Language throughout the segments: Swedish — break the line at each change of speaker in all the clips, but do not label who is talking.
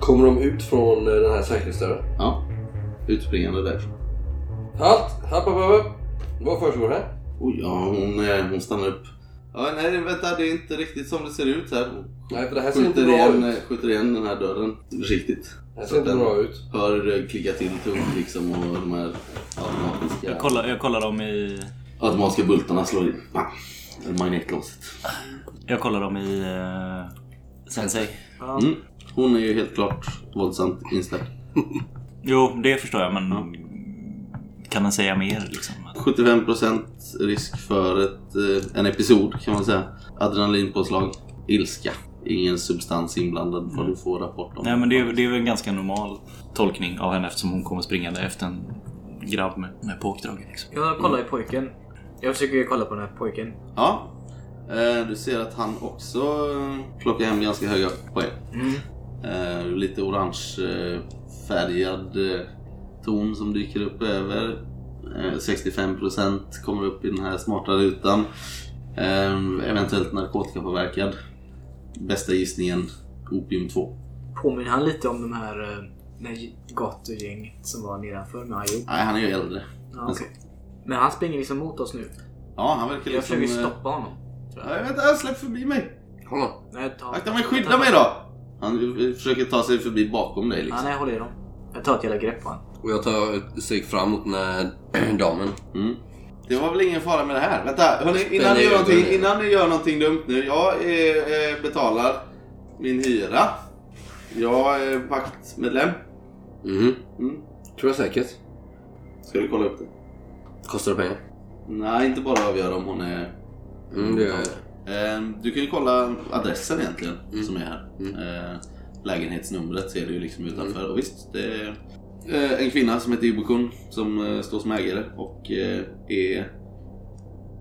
Kommer de ut från eh, den här säkerhetsdörren?
Ja. Utspringande därifrån.
Halt! Halt, upp, upp, upp. Vad försiggår här?
Oj, ja, hon, eh, hon stannar upp. Ja, nej, vänta, det är inte riktigt som det ser ut här. Hon
Nej, för det här ser inte
Skjuter
bra
igen,
ut.
eh, skjuter igen den här dörren riktigt.
Det här ser inte bra ut.
Hör eh, klicka till tungt liksom och de här automatiska,
Jag kollar, jag kollar dem i...
automatiska bultarna slår in. Bam! Det är Magnetlåset.
Jag kollar dem i... eh, sensei.
Mm. Hon är ju helt klart våldsamt inställd.
Jo, det förstår jag men... Kan den säga mer liksom?
75% risk för ett, eh, en episod kan man säga. Adrenalinpåslag. Ilska. Ingen substans inblandad vad du får rapport om.
Mm. Nej men det är, det är väl en ganska normal tolkning av henne eftersom hon kommer springande efter en grabb med, med påkdrag. Liksom.
Jag kollar i pojken. Jag försöker ju kolla på den här pojken.
Ja. Eh, Du ser att han också eh, plockar hem ganska höga poäng. Eh, Lite orange eh, färgad eh, ton som dyker upp över. Eh, 65% kommer upp i den här smarta rutan. Eh, Eventuellt narkotikapåverkad. Bästa gissningen opium 2.
Påminner han lite om de här, eh, det här gatugänget som var nedanför med Ayo?
Nej, han är ju äldre.
Ja,
Alltså.
okej. Men han springer liksom mot oss nu.
Ja, han verkar
Jag
liksom...
försöker
eh,
stoppa honom.
Nej, vänta, släpp förbi mig!
Honom.
Nej, ta...
Akta mig, skydda mig då! Han eh, försöker ta sig förbi bakom dig
Ja,
liksom.
nej, jag håller i dem. Jag tar ett jävla grepp på honom.
Och jag tar ett steg fram mot den här damen.
Mm. Det var väl ingen fara med det här. Vänta, hörni, innan,
Spänn
ni gör
över
någonting,
det.
innan ni gör någonting dumt nu. Jag eh, eh, betalar min hyra. Jag är vaktmedlem.
Mhm.
Mm.
Tror jag säkert.
Ska du kolla upp det?
Kostar det pengar?
Nej, inte bara avgöra om hon är...
Mm, det gör jag.
Eh, du kan ju kolla adressen egentligen
Mm.
som är här.
Mm.
Eh, lägenhetsnumret ser du ju liksom utanför. Och visst, det är eh, en kvinna som heter Ibukun som eh, står som ägare och eh, är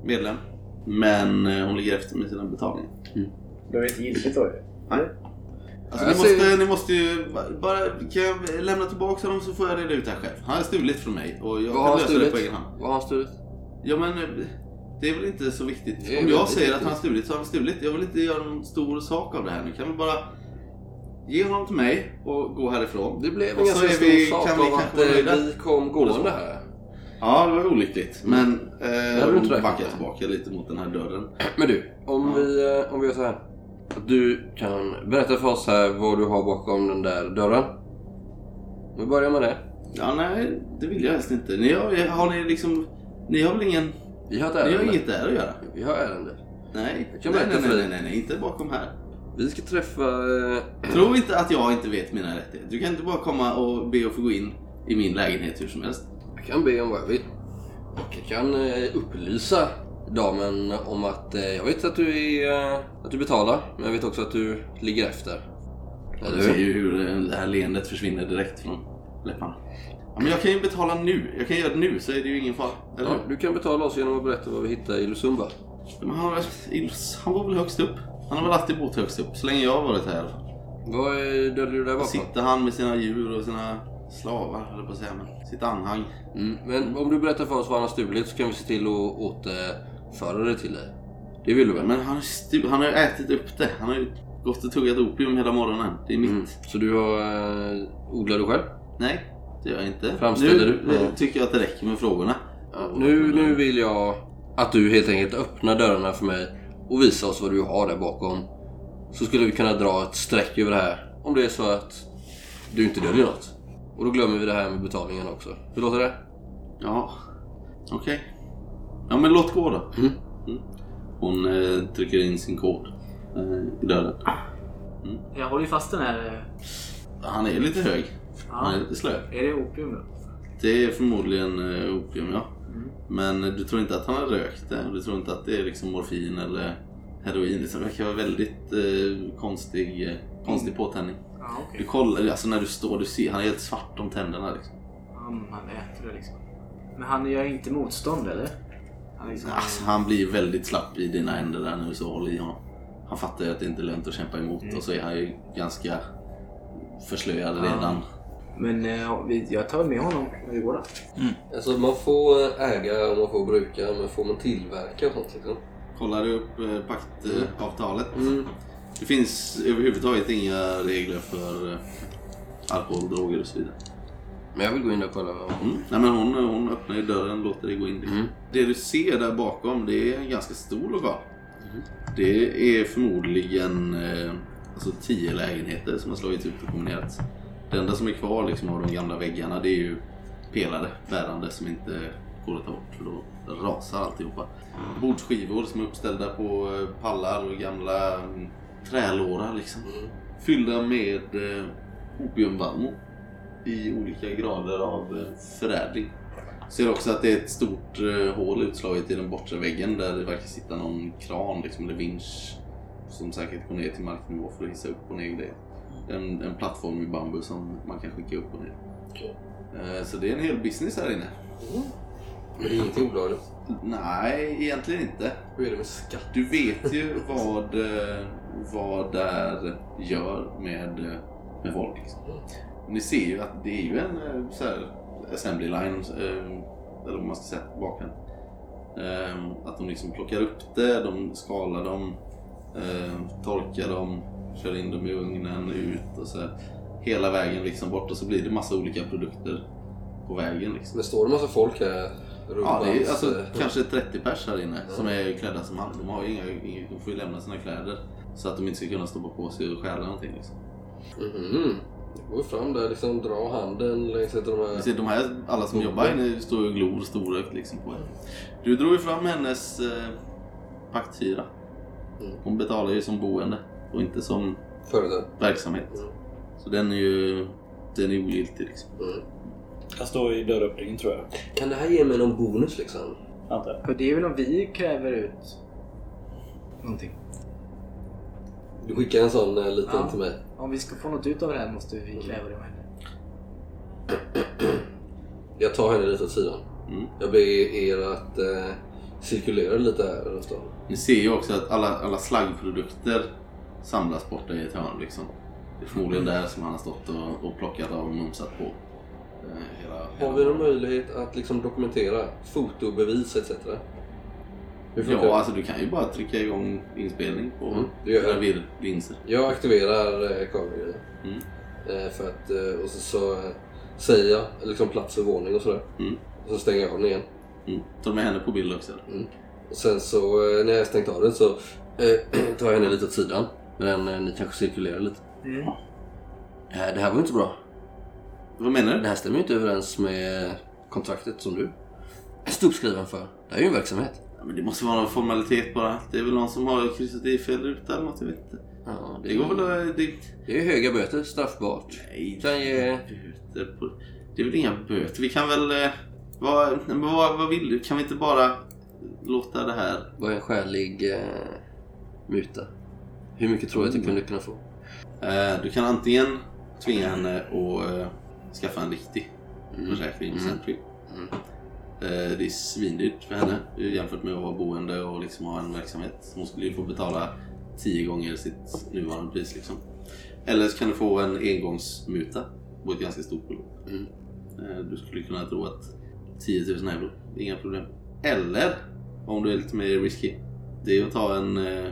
medlem. Men eh, hon ligger efter med sina betalningar.
Du har inte giltigt då ju.
Alltså, ni,
Jag
måste,
ser-
ni måste ju bara... Kan jag lämna tillbaka dem så får jag reda ut det här själv. Han har stulit från mig och jag
Vad har
kan
han
lösa det
stulit?
på egen hand.
Vad har han stulit?
Ja men eh, det är väl inte så viktigt.
Det är
Om
väl
jag
inte
säger att
viktigt.
han har stulit så har han stulit. Jag vill inte göra någon stor sak av det här nu. Kan vi bara ge honom till mig och gå härifrån?
Det blev en
Och så
ganska
är
stor
vi-
sak
kan vi
av att
kanske vara
eh,
nöjda?
vi kom gående här.
Ja, det var olyckligt.
Mm.
Men eh,
hade du inte
hon
räknat
backar
med.
tillbaka lite mot den här dörren.
Men du, om,
Ja.
vi, eh, om vi gör så här. Att Du kan berätta för oss här vad du har bakom den där dörren. Vi börjar med det.
Ja, nej, det vill jag helst inte. Ni har, har ni liksom... Ni har väl ingen...
Vi har ett
Ni har
ärende.
inget där att göra?
Vi har ärende. Jag
Nej. Nej,
kan
nej,
berätta
nej,
för
nej,
dig.
nej, nej, inte bakom här.
Vi ska träffa... eh,
Tro inte att jag inte vet mina rättigheter. Du kan inte bara komma och be att få gå in i min lägenhet hur som helst.
Jag kan be om vad jag vill. Och jag kan eh, upplysa damen om att eh, jag vet att du, är, eh, att du betalar, men jag vet också att du ligger efter. Eller
Du ser
hur?
ju hur det här leendet försvinner direkt från läpparna. Ja, men jag kan ju betala nu. Jag kan göra det nu så är det ju ingen fara. Eller?
Ja, du kan betala oss genom att berätta vad vi hittar i Lusumba.
Men han, var- han var väl högst upp? Han har väl alltid bott högst upp, så länge jag har varit här i alla fall.
Vad eh, döljer du där bakom?
Sitter han med sina djur och sina slavar, höll jag på att säga, men sitt anhang.
Mm, men om du berättar för oss vad han har stulit så kan vi se till att återföra det till dig. Det vill du väl?
Men han, har stu- han har ju ätit upp det. Han har ju gått och tuggat opium hela morgonen. Det är mitt.
Mm. Så du har... Eh, odlar du själv?
Nej, det gör jag inte.
Framställer
nu
du?
eh, tycker jag att det räcker med frågorna.
Ja, nu, nu vill jag att du helt enkelt öppnar dörrarna för mig och visar oss vad du har där bakom. Så skulle vi kunna dra ett streck över det här. Om det är så att du inte döljer något. Och då glömmer vi det här med betalningen också. Hur låter det?
Ja, okej. Ja, men låt gå då.
Mm.
Mm. Hon eh, trycker in sin kod eh, i dörren.
Jag håller ju fast den här... eh,
Han är lite hög. Han är
Ja.
lite slö.
Är det opium då?
Det är förmodligen eh, opium, ja.
Mm.
Men eh, du tror inte att han har rökt det? Du tror inte att det är liksom morfin eller heroin? Det verkar vara väldigt eh, konstig, eh, konstig påtändning.
Ja, okej.
Du kollar, alltså när du står, du ser, han är helt svart om tänderna liksom.
Ja, men han äter det liksom. Men han gör inte motstånd eller? Han liksom...
Alltså, han blir väldigt slapp i dina händer där nu så håll i honom. Han fattar ju att det inte är lönt att kämpa emot
Mm.
och så är han ju ganska förslöjad
Ja.
redan.
Men eh, vi- jag tar med honom när vi går där.
Alltså man får äga och man får bruka, men får man tillverka och sånt liksom?
Kollar du upp eh, paktavtalet?
Mm.
Det finns överhuvudtaget inga regler för eh, alkohol, droger och så vidare.
Men jag vill gå in och kolla. vad-
Mm. Nej, men hon, hon öppnar ju dörren och låter dig gå in. dit.
Mm.
Det du ser där bakom det är en ganska stor lokal.
Mm-hmm.
Det är förmodligen eh, alltså tio lägenheter som har slagits ut och kombinerats. Det enda som är kvar liksom, av de gamla väggarna det är ju pelare, bärande som inte går att ta bort för då rasar alltihopa. Bordsskivor som är uppställda på eh, pallar och gamla mm, trälårar liksom. Fyllda med eh, opiumvallmo i olika grader av eh, förädling. Ser också att det är ett stort eh, hål utslaget i den bortre väggen där det verkar sitta någon kran liksom, eller vinsch som säkert går ner till marknivå för att hissa upp och ner grejer. En, en plattform i bambu som man kan skicka upp och ner.
Okej.
Eh, Så det är en hel business här inne.
Men det är ingenting olagligt.
Nej, egentligen inte.
Hur är det med skatt?
Du vet ju vad, eh, vad där gör med, eh, med folk. Liksom. Ni ser ju att det är ju en eh, så här, assembly line, eh, eller vad man ska säga, bakom. Eh, Att de liksom plockar upp det, de skalar dem, eh, torkar dem, kör in dem i ugnen, ut och så här. Hela vägen liksom bort och så blir det massa olika produkter på vägen. Liksom.
Det står en massa folk här runt
Ja, det är
hans,
alltså,
eh,
kanske 30 pers här inne som är klädda som han. De, har ju inga, inga, de får ju lämna sina kläder så att de inte ska kunna stoppa på sig och stjäla någonting. Liksom.
Mhm. Gå fram där liksom, dra handen längs ett av de
Ni
här...
ser, de här, alla som jobbar här inne står ju och glor storögt liksom, på er. Du drog ju fram hennes eh, pakthyra.
Mm.
Hon betalar ju som boende och inte som
Företag.
verksamhet.
Mm.
Så den är ju den är ogiltig. Liksom.
Mm.
Jag står i dörröppningen tror jag.
Kan det här ge mig någon bonus liksom?
Antar jag.
För det är väl om vi kräver ut någonting.
Du skickar en sån eh, liten
Ja.
till mig.
Om vi ska få något ut av det här måste vi kräva det av henne.
Jag tar henne lite åt sidan.
Mm.
Jag ber er att eh, cirkulera lite här runt om.
Ni ser ju också att alla, alla slaggprodukter samlas borta i ett hörn. Liksom. Det är förmodligen där som han har stått och, och plockat av och mumsat på. Eh, hela, hela
Har vi någon möjlighet att liksom dokumentera fotobevis etc? Hur funkar
Ja,
det?
alltså du kan ju bara trycka igång inspelning på
Mm, det gör
dina
jag.
vir- linser.
Jag aktiverar eh, kameragrejen.
Mm.
Eh, för att, eh, och så, så eh, säger jag liksom plats och våning och sådär.
Mm.
Och så stänger jag av den igen.
Mm. Ta med henne på bild också. eller?
Och sen så eh, när jag stängt av den så eh, tar jag henne lite åt sidan. Men eh, ni kanske cirkulerar lite.
Mm.
Det här, Eh, det här var ju inte bra.
Vad menar
Det
du?
här stämmer ju inte överens med kontraktet som du stod uppskriven för. Det här är ju en verksamhet.
Ja, men det måste vara någon formalitet bara. Det är väl någon som har kryssat i fel ruta eller något, jag vet inte.
Ja,
Det går väl att... Det...
det är höga böter, straffbart.
Nej,
Kan ge-
böter på... Det är väl inga böter. Vi kan väl... eh, Vad, nej, men vad, vad vill du? Kan vi inte bara låta det här...
Vad är en skälig eh, muta? Hur mycket tror jag att jag
Mm.
kunde kunna få?
Eh, du kan antingen tvinga henne att eh, skaffa en riktig försäkring.
Mm.
Mm.
Mm.
Eh, Det är svindyrt för henne eh, jämfört med att vara boende och liksom ha en verksamhet. Hon skulle ju få betala tio gånger sitt nuvarande pris. Liksom. Eller så kan du få en engångsmuta på ett ganska stort belopp.
Mm.
Eh, Du skulle kunna tro att 10 000 euro, inga problem. Eller om du är lite mer risky, det är att ta en eh,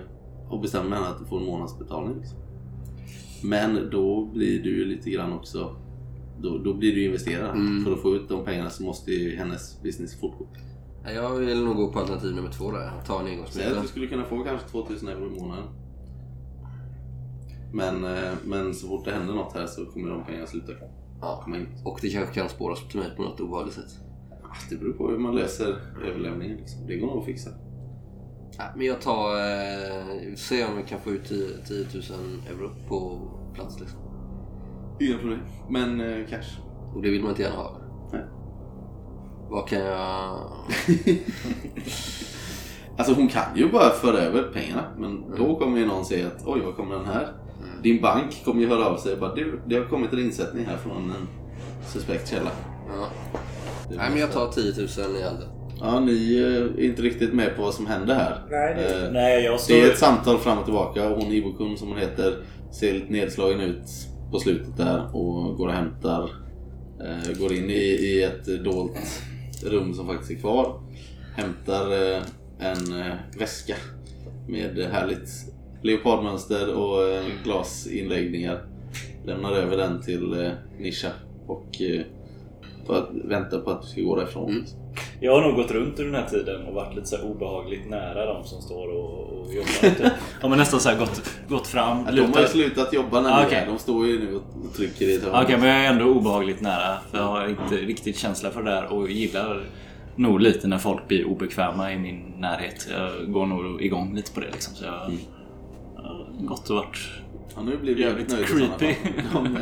och bestämma med henne att du får en månadsbetalning. Liksom. Men då blir du ju lite grann också då, då blir du investerare.
Mm.
För att få ut de pengarna så måste ju hennes business fortgå.
Nej, Jag vill nog gå på alternativ nummer två där. Ta en
Säg att
engångsmuta.
du skulle kunna få kanske 2000 euro i månaden. Men, eh, men så fort det händer något här så kommer de pengarna sluta
Ja.
komma in.
Och det kanske kan spåras till mig på något obehagligt sätt.
Ah, Det beror på hur man löser överlämningen. Liksom. Det går nog att fixa.
Nej, men jag tar... Eh, se om vi kan få ut 10, 10 000 euro på plats liksom.
Inga problem. Men eh, cash.
Och det vill man inte gärna ha.
Nej.
Vad kan jag...
Alltså hon kan ju bara föra över pengarna. Men då kommer ju någon säga att oj, vad kommer den här? Din bank kommer ju höra av sig och bara du, det har kommit en insättning här från en suspekt källa.
Ja. Nej, men jag tar 10 000 i handen.
Ja, ni eh, är inte riktigt med på vad som händer här.
Nej, det-
Eh,
Nej, jag
det är
står...
ett samtal fram och tillbaka och hon Ibokun som hon heter ser lite nedslagen ut på slutet där och går och hämtar. Eh, går in i, i ett dolt rum som faktiskt är kvar. Hämtar eh, en eh, väska med härligt leopardmönster och eh, glasinläggningar. Lämnar över den till eh, Nisha och eh, för att vänta på att vi ska gå därifrån.
Mm.
Jag har nog gått runt under den här tiden och varit lite så här obehagligt nära de som står och, och jobbar. Typ.
Ja men nästan såhär gått, gått fram,
Ja, De har ju
lutat.
slutat jobba när
Ah,
vi
okej. Ah,
är. De står ju nu och trycker i ett hörn.
Okej men jag är ändå obehagligt nära. För jag har inte riktigt känsla för det där och gillar nog lite när folk blir obekväma i min närhet. Jag går nog igång lite på det liksom. Så jag, jag har gått och varit
Ja, nu blir vi jävligt
jävligt
nöjda i sådana
creepy.
fall.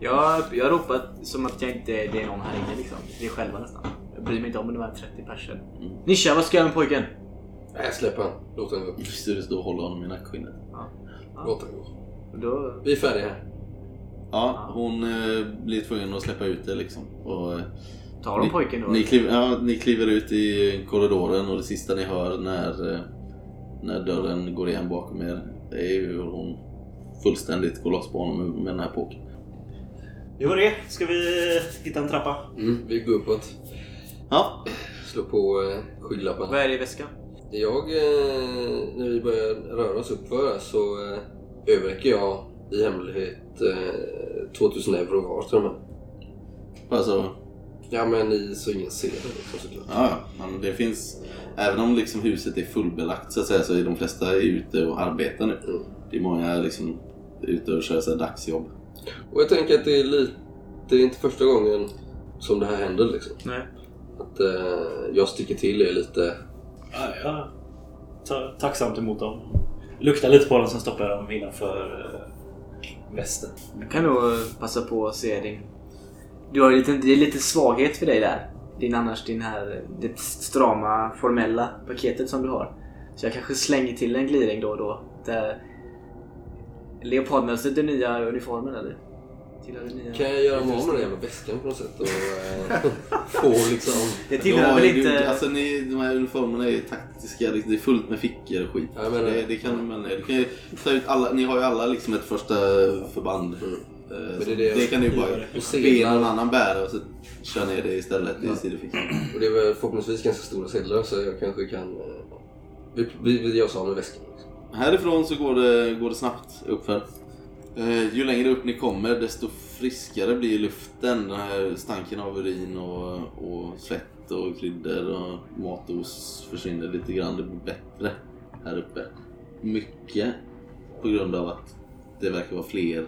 Jag, jag ropar som att jag inte det är någon här inne liksom. Vi är själva nästan. Jag bryr mig inte om det var 30 personer. Nisha, vad ska jag göra med pojken?
Nej, släpp han. Låt honom gå.
Just det, du står och håller honom i nackskinnet.
Låt honom gå.
Och då...
Vi är färdiga här.
Ja, hon eh, blir tvungen att släppa ut det liksom. Och, eh,
Tar de
ni-
pojken då?
Ni, kliv, ja, ni kliver ut i korridoren och det sista ni hör när, eh, när dörren går igen bakom er det är ju hur hon fullständigt går loss på honom med den här påken.
Det var det. Ska vi hitta en trappa?
Mm, vi går uppåt.
Ja,
Slå på eh, skygglapparna.
Vad är det i väskan?
Jag, eh, när vi börjar röra oss uppför här så eh, överräcker jag i hemlighet eh, 2000 euro var till de här.
alltså,
Ja men i, så ingen ser det liksom såklart.
ja, ja. men det finns, även om liksom huset är fullbelagt så att säga så är de flesta ute och arbetar nu.
Mm.
Det är många liksom ute och kör så här dagsjobb.
Och jag tänker att det är lite, det är inte första gången som det här händer liksom.
Nej.
Att eh, jag sticker till er lite.
Ja, jag tar tacksamt emot dem. Luktar lite på dem, sen stoppar jag dem innanför eh, västen.
Jag kan nog eh, passa på att se din... Du har ju lite, det är lite svaghet för dig där. Din annars, din här, eh, det strama, formella paketet som du har. Så jag kanske slänger till en gliring då och då. Det leopardmönstret, den nya uniformen eller? Tillhör den nya...
Kan jag göra mig av med den jävla väskan på något sätt och eh, få liksom...
Det
De
tillhör
har
väl
ju-
inte...
Alltså, ni, de här uniformerna är ju taktiska, liksom, det det är fullt med fickor och skit.
Ja, eh, jag menar
det,
det.
det kan, men, du kan ju ta ut alla, ni har ju alla liksom ett första förband.
mm.
Eh,
det
så
är
det,
det jag-
kan ni ju bara
Och
be
sedlar.
någon annan bära och så kör ner det istället i sidofickan.
Och det är väl förhoppningsvis ganska stora sedlar så jag kanske kan... Eh, vi, vi, vi gör oss av med väskan. Liksom.
Härifrån så går det, går det snabbt uppför. Eh, ju längre upp ni kommer desto friskare blir luften. Den här stanken av urin och, och svett och kryddor och matos försvinner lite grann. Det blir bättre här uppe. Mycket på grund av att det verkar vara fler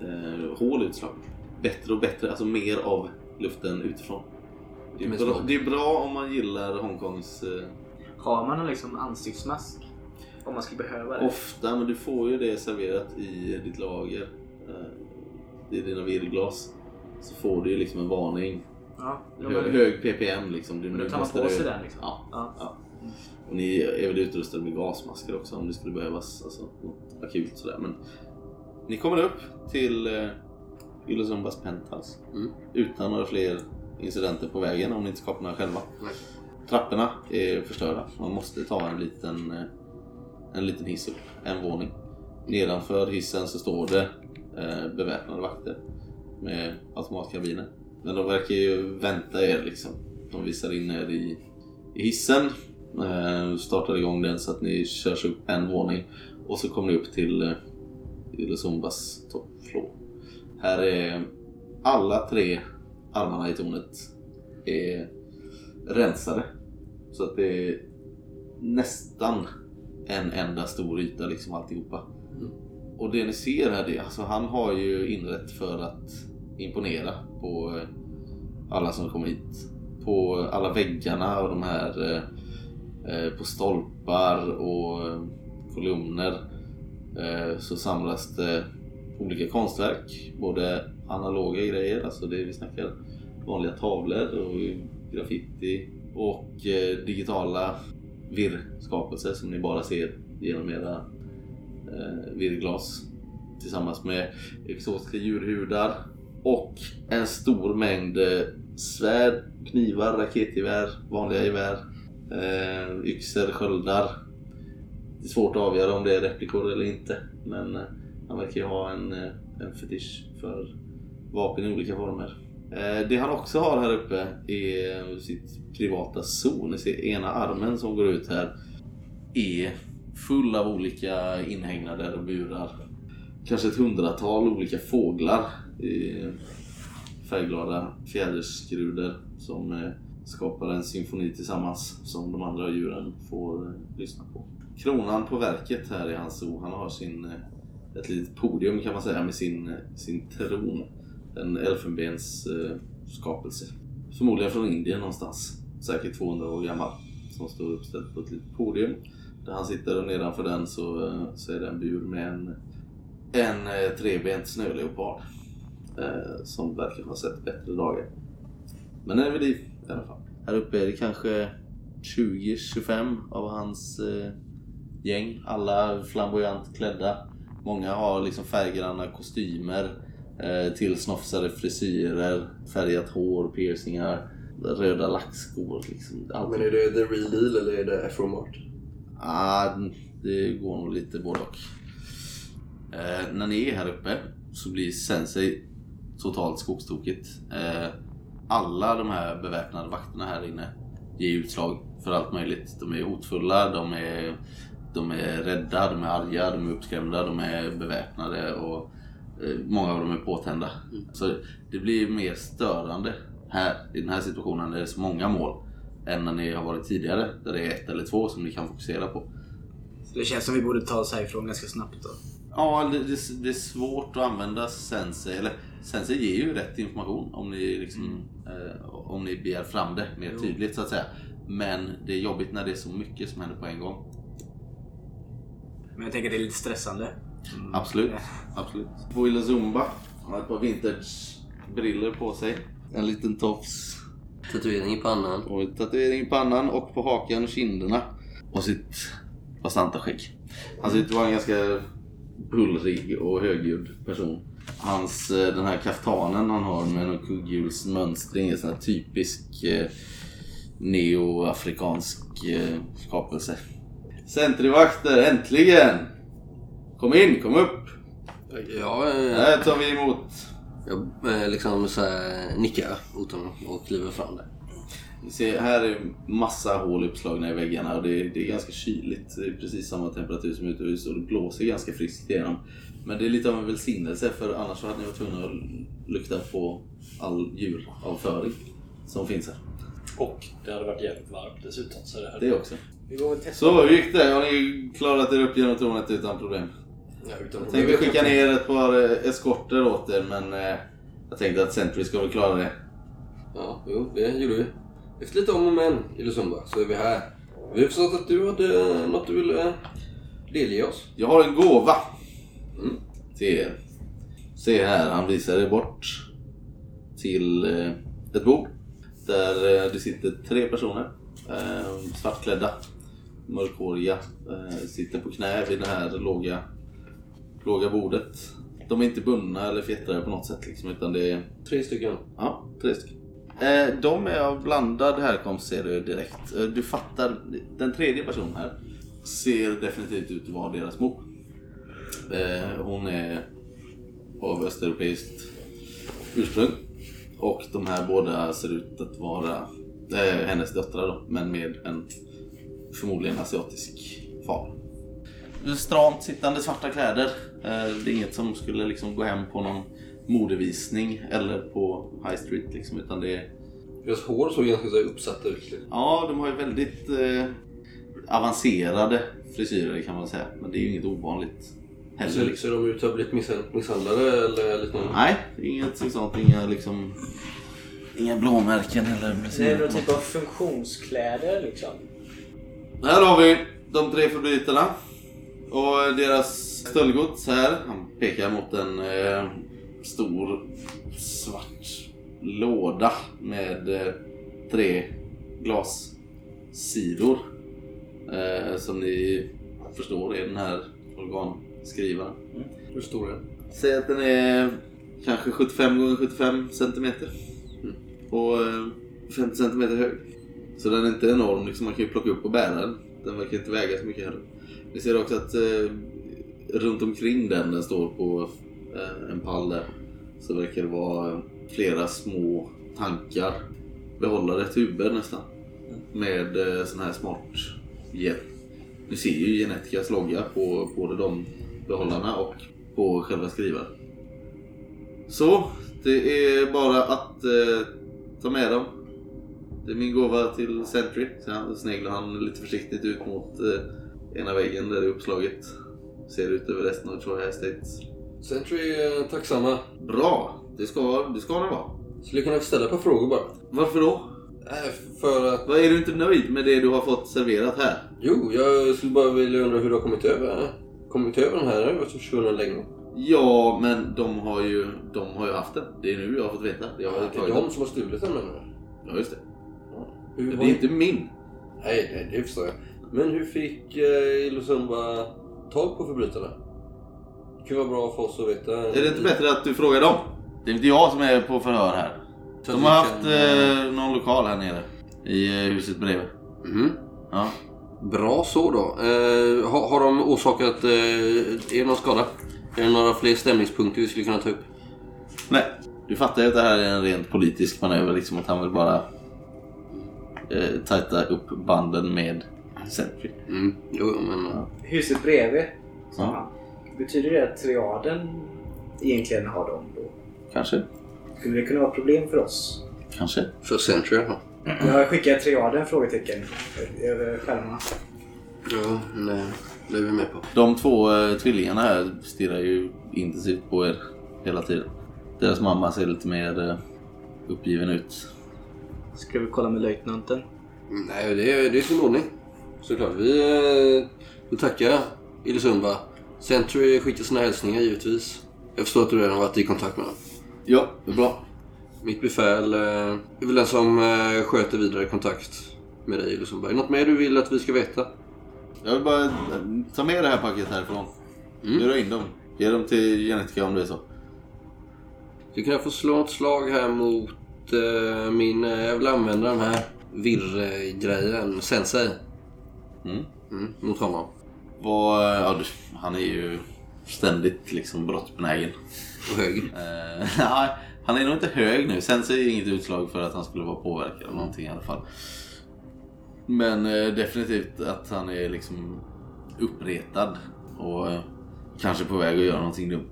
eh, hål utslag. Bättre och bättre, alltså mer av luften utifrån. Det
Men
är, bra,
smak.
det är bra om man gillar Hongkongs eh,
Har man någon liksom ansiktsmask? Om man skulle behöva det.
Ofta, men du får ju det serverat i ditt lager. eh, I dina virrglas. Så får du ju liksom en varning.
ja, ja,
Hö-
men,
Hög ppm liksom. Du,
men då
nu
tar man
måste
på
du-
sig den liksom.
Ja.
Ja.
Och ni är väl utrustade med gasmasker också om det skulle behövas. Alltså, något akut sådär. Men ni kommer upp till eh, Ilosumbas penthouse.
Mm.
Utan några fler incidenter på vägen om ni inte skapar några själva.
Nej.
Trapporna är förstörda. Man måste ta en liten, eh, en liten hiss upp. En våning. Nedanför hissen så står det eh, beväpnade vakter med automatkarbiner. Men de verkar ju vänta er liksom. De visar in er i, i hissen. Eh, startar igång den så att ni körs upp en våning. Och så kommer ni upp till eh, Ilosumbas toppflå. Här är alla tre armarna i tornet är rensade. Så att det är nästan en enda stor yta liksom alltihopa.
Mm.
Och det ni ser här, det, alltså han har ju inrett för att imponera på eh, alla som kommer hit. På alla väggarna och de här eh, eh, på stolpar och eh, kolumner eh, så samlas det olika konstverk. Både analoga grejer, alltså det vi snackar vanliga tavlor och graffiti och eh, digitala virrskapelser som ni bara ser genom era eh, virrglas tillsammans med exotiska djurhudar och en stor mängd eh, svärd, knivar, raketgevär, vanliga gevär, eh, yxor, sköldar. Det är svårt att avgöra om det är replikor eller inte men eh, han verkar ju ha en, eh, en fetisch för vapen i olika former. Eh, Det han också har här uppe är eh, sitt privata zon. Ni ser ena armen som går ut här är full av olika inhägnader och burar. kanske ett hundratal olika fåglar i färgglada fjäderskrudor som eh, skapar en symfoni tillsammans som de andra djuren får eh, lyssna på. Kronan på verket här i hans zoo, han har sin, eh, ett litet podium kan man säga med sin, eh, sin tron. En elfenbens eh, skapelse. Förmodligen från Indien någonstans. Säkert 200 år gammal. Som står uppställd på ett litet podium. Där han sitter och nedanför den så, eh, så är det en bur med en, en eh, trebent snöleopard. Eh, som verkar ha sett bättre dagar. Men den är vid liv i alla fall. Här uppe är det kanske 20-25 av hans eh, gäng. Alla flamboyant klädda. Många har liksom färggranna kostymer, eh, tillsnofsade frisyrer, färgat hår, piercingar, röda lackskor. Liksom. Allt.
Men är det the real deal eller är det Afromart?
Ah, det går nog lite både och. Eh, när ni är här uppe så blir Sensei totalt skogstokigt. Eh, alla de här beväpnade vakterna här inne ger utslag för allt möjligt. De är hotfulla, de är, de är rädda, de är arga, de är uppskrämda, de är beväpnade och eh, många av dem är påtända. Så det blir mer störande här i den här situationen när det är så många mål än när ni har varit tidigare där det är ett eller två som ni kan fokusera på.
Så det känns som vi borde ta oss härifrån ganska snabbt då.
Ja, det, det, det är svårt att använda sensei. Eller sensei ger ju rätt information om ni, liksom, eh, om ni begär fram det mer tydligt så att säga. Men det är jobbigt när det är så mycket som händer på en gång.
Men jag tänker att det är lite stressande.
Absolut. Absolut. Boila Zumba. Han har ett par vintage-briller på sig. En liten tofs.
Tatuering i pannan.
Och en tatuering i pannan och på hakan och kinderna. Och sitt bastanta skägg. Han ser ut att vara en ganska bullrig och högljudd person. Hans, eh, den här kaftanen han har med någon kugghjulsmönstring är en sån här typisk eh, neoafrikansk eh, skapelse. Sentrivakter, äntligen! Kom in, kom upp!
Jag, eh,
Här tar vi emot
jag eh, liksom så här, nickar åt honom och kliver fram där.
Ni ser, här är massa hål uppslagna i väggarna och det, det är ganska kyligt. Det är precis samma temperatur som utomhus och det blåser ganska friskt igenom. Men det är lite av en välsignelse för annars så hade ni varit tvungna att lukta på all djuravföring som finns här.
Och det hade varit jävligt varmt dessutom. Så det hade...
Det också.
Vi går och testar.
Så, hur gick det? Har ni klarat er upp genom tornet utan problem?
Ja, utan
Jag tänkte skicka ner ett par eh, eskorter åt er men eh, jag tänkte att Sentry ska väl klara det.
Ja, jo, det gjorde vi. Efter lite om och men i Lusumba så är vi här. Vi har förstått att du hade eh, något du ville eh, delge oss.
Jag har en gåva. Till er. Se här, han visar er bort till eh, ett bord. Där eh, det sitter tre personer. Eh, svartklädda. Mörkhåriga. Eh, sitter på knä vid det här låga, låga bordet. De är inte bundna eller fjättrade på något sätt. Liksom, utan det är
Tre stycken.
Ja, tre stycken. Eh, de är av blandad härkomst ser du direkt. Eh, Du fattar, den tredje personen här ser definitivt ut att vara deras mor. Eh, hon är av östeuropeiskt ursprung. Och de här båda ser ut att vara eh, hennes döttrar då, men med en förmodligen asiatisk far. Stramt sittande svarta kläder. Eh, Det är inget som skulle liksom gå hem på någon modevisning eller på high street liksom, utan det är
Deras hår såg ganska så här uppsatta ut.
Ja, de har ju väldigt eh, avancerade frisyrer kan man säga. Men det är ju inget ovanligt heller.
Ser,
Liksom.
ser de ut att ha blivit missan- misshandlade eller liknande?
Nej, det är inget sånt. Inga liksom... Inga blåmärken eller...
Det är någon typ av funktionskläder liksom.
Här har vi de tre förbrytarna. Och deras stöldgods här. Han pekar mot en eh, stor svart låda med eh, tre glassidor. Eh, som ni förstår är den här organskrivaren.
Hur stor är den?
Säg att den är kanske 75 gånger 75 centimeter. Och eh, 50 centimeter hög. Så den är inte enorm, liksom man kan ju plocka upp och bära den. Den verkar inte väga så mycket heller. Ni ser också att eh, runt omkring den, den står på eh, en pall där, så verkar det vara eh, flera små tankar. Behållare, tuber nästan. Med eh, sån här smart hjälp. Du ser ju Genetikas logga på både de behållarna och på själva skrivaren. Så, det är bara att eh, ta med dem. Det är min gåva till Sentry. Sen sneglar han lite försiktigt ut mot eh, ena väggen där det är uppslaget. Ser ut över resten av Troy Estates.
Sentry är tacksamma.
Bra! Det ska, det ska det vara.
Skulle kunna få ställa ett par frågor bara.
Varför då?
Äh, för att...
Vad Är du inte nöjd med det du har fått serverat här?
Jo, jag skulle bara vilja undra hur du har kommit över Kommit över den här? eh, Den har varit försvunnen länge.
Ja, men de har ju, de har ju haft den. Det är nu jag har fått veta. Jag har
det är
tagit den.
de som har stulit den menar du?
Ja, just det.
Hur
Det är inte min.
Nej, nej, det förstår jag. Men hur fick eh, Ilusumba tag på förbrytarna? Det kan vara bra för oss att veta.
Är det inte bättre att du frågar dem? Det är inte jag som är på förhör här. De har haft eh, någon lokal här nere. I eh, huset bredvid.
Mhm.
Ja.
Bra så då. Eh, har, har de orsakat... Eh, är det någon skada? Är det några fler stämningspunkter vi skulle kunna ta upp?
Nej. Du fattar ju att det här är en rent politisk manöver. Liksom att han vill bara eh, tajta upp banden med Sentry.
Mm. Jo, jo, men...
Ja.
Huset bredvid, sa
Ja.
han. Betyder det att triaden egentligen har dem då?
Kanske.
Skulle det kunna vara problem för oss?
Kanske.
För Century i alla fall.
Jag skickar triaden? Frågetecken. Över skärmarna.
Ja, nej. Det är vi med på.
De två eh, tvillingarna här stirrar ju intensivt på er hela tiden. Deras mamma ser lite mer eh, uppgiven ut.
Ska vi kolla med löjtnanten?
Nej, det är, det är sin ordning. Såklart. Vi, eh, vi tackar Ilsumba. Century skickar sina hälsningar givetvis. Jag förstår att du redan har varit i kontakt med dem.
Ja, det är bra.
Mitt befäl eh, är väl den som eh, sköter vidare kontakt med dig Ilsumba. Är det något mer du vill att vi ska veta?
Jag vill bara eh, ta med det här packet härifrån.
Mm.
Göra in dem. Ge dem till Genetica om det är så.
Du kan få slå ett slag här mot eh, min... Eh, jag vill använda den här virre-grejen. Sensei.
Mm.
Mm, mot honom.
Vad, eh, ja, du- han är ju ständigt liksom brottsbenägen.
Och höger.
Eh, nej, han är nog inte hög nu. Sen så är det inget utslag för att han skulle vara påverkad av någonting i alla fall. Men eh, definitivt att han är liksom uppretad och eh, kanske på väg att göra någonting dumt.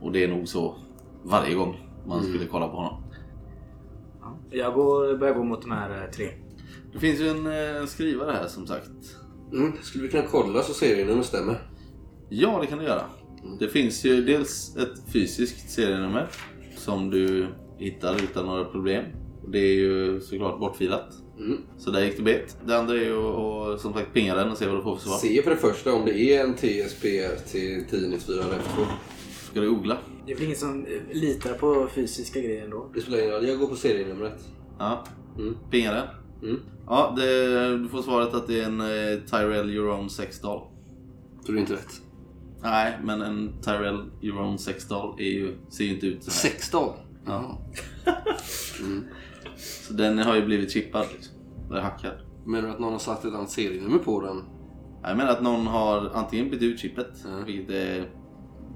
Och det är nog så varje gång man skulle kolla på honom.
Jag går, börjar gå mot de här eh, tre.
Det finns ju en eh, skrivare här som sagt.
Mm, skulle vi kunna kolla så serienummer stämmer?
Ja, det kan du göra. Det finns ju dels ett fysiskt serienummer som du hittar utan några problem. Det är ju såklart bortfilat.
Mm.
Så där gick det bet. Det andra är ju att att som sagt pinga den och se vad du får för svar.
Se för det första om det är en TSPR till 1094 eller F2.
Ska du googla?
Det är väl ingen som eh, litar på fysiska grejer ändå?
Det spelar ingen roll, jag går på serienumret.
Ja.
Mm.
Pinga den.
Mm.
Ja, det, du får svaret att det är en eh, Tyrell Jerome Sextall.
Så det är inte rätt.
Nej, men en Tyrell Jerome Sextall är ju, ser ju inte ut så här.
16?
Ja. Så den har ju blivit chippad liksom. Eller hackad.
Menar du att någon har satt ett annat serienummer på den?
Jag menar att någon har antingen bytt ut chippet,
Mm.
vilket är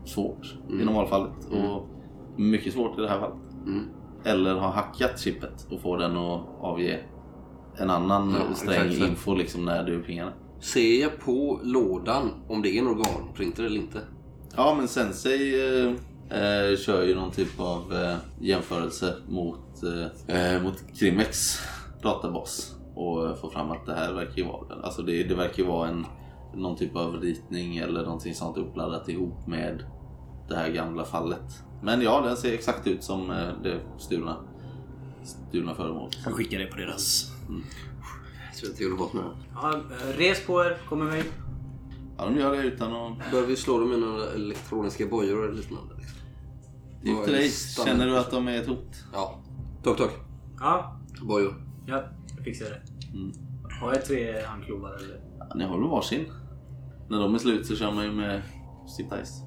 svårt i normalfallet och mycket svårt i det här fallet.
Mm.
Eller har hackat chippet och får den att avge en annan
Ja,
sträng
exakt så.
info liksom när du pingar den.
Ser jag på lådan om det är en organprinter eller inte?
Ja men Sensei eh, eh, kör ju någon typ av eh, jämförelse mot, eh, eh, mot Krimex databas och eh, får fram att det här verkar ju vara den. Alltså det, det verkar ju vara en, någon typ av ritning eller någonting sånt uppladdat ihop med det här gamla fallet. Men ja, den ser exakt ut som eh, det stulna, stulna föremålet.
Jag skickar det på deras...
Jag tror inte jag gjorde bort med det.
Ja, eh, res på er, kom med mig.
Ja, de gör det utan att
Behöver vi slå dem med några elektroniska bojor eller liknande? liksom?
Det är upp till
Vad är
dig.
standard?
Känner du att de är ett hot?
Ja. Tok, tok.
Ja,
Bojor.
ja, jag fixar det.
Mm.
Har jag tre handklovar eller?
Ja, ni har väl varsin? När de är slut så kör man ju med Stift Ice.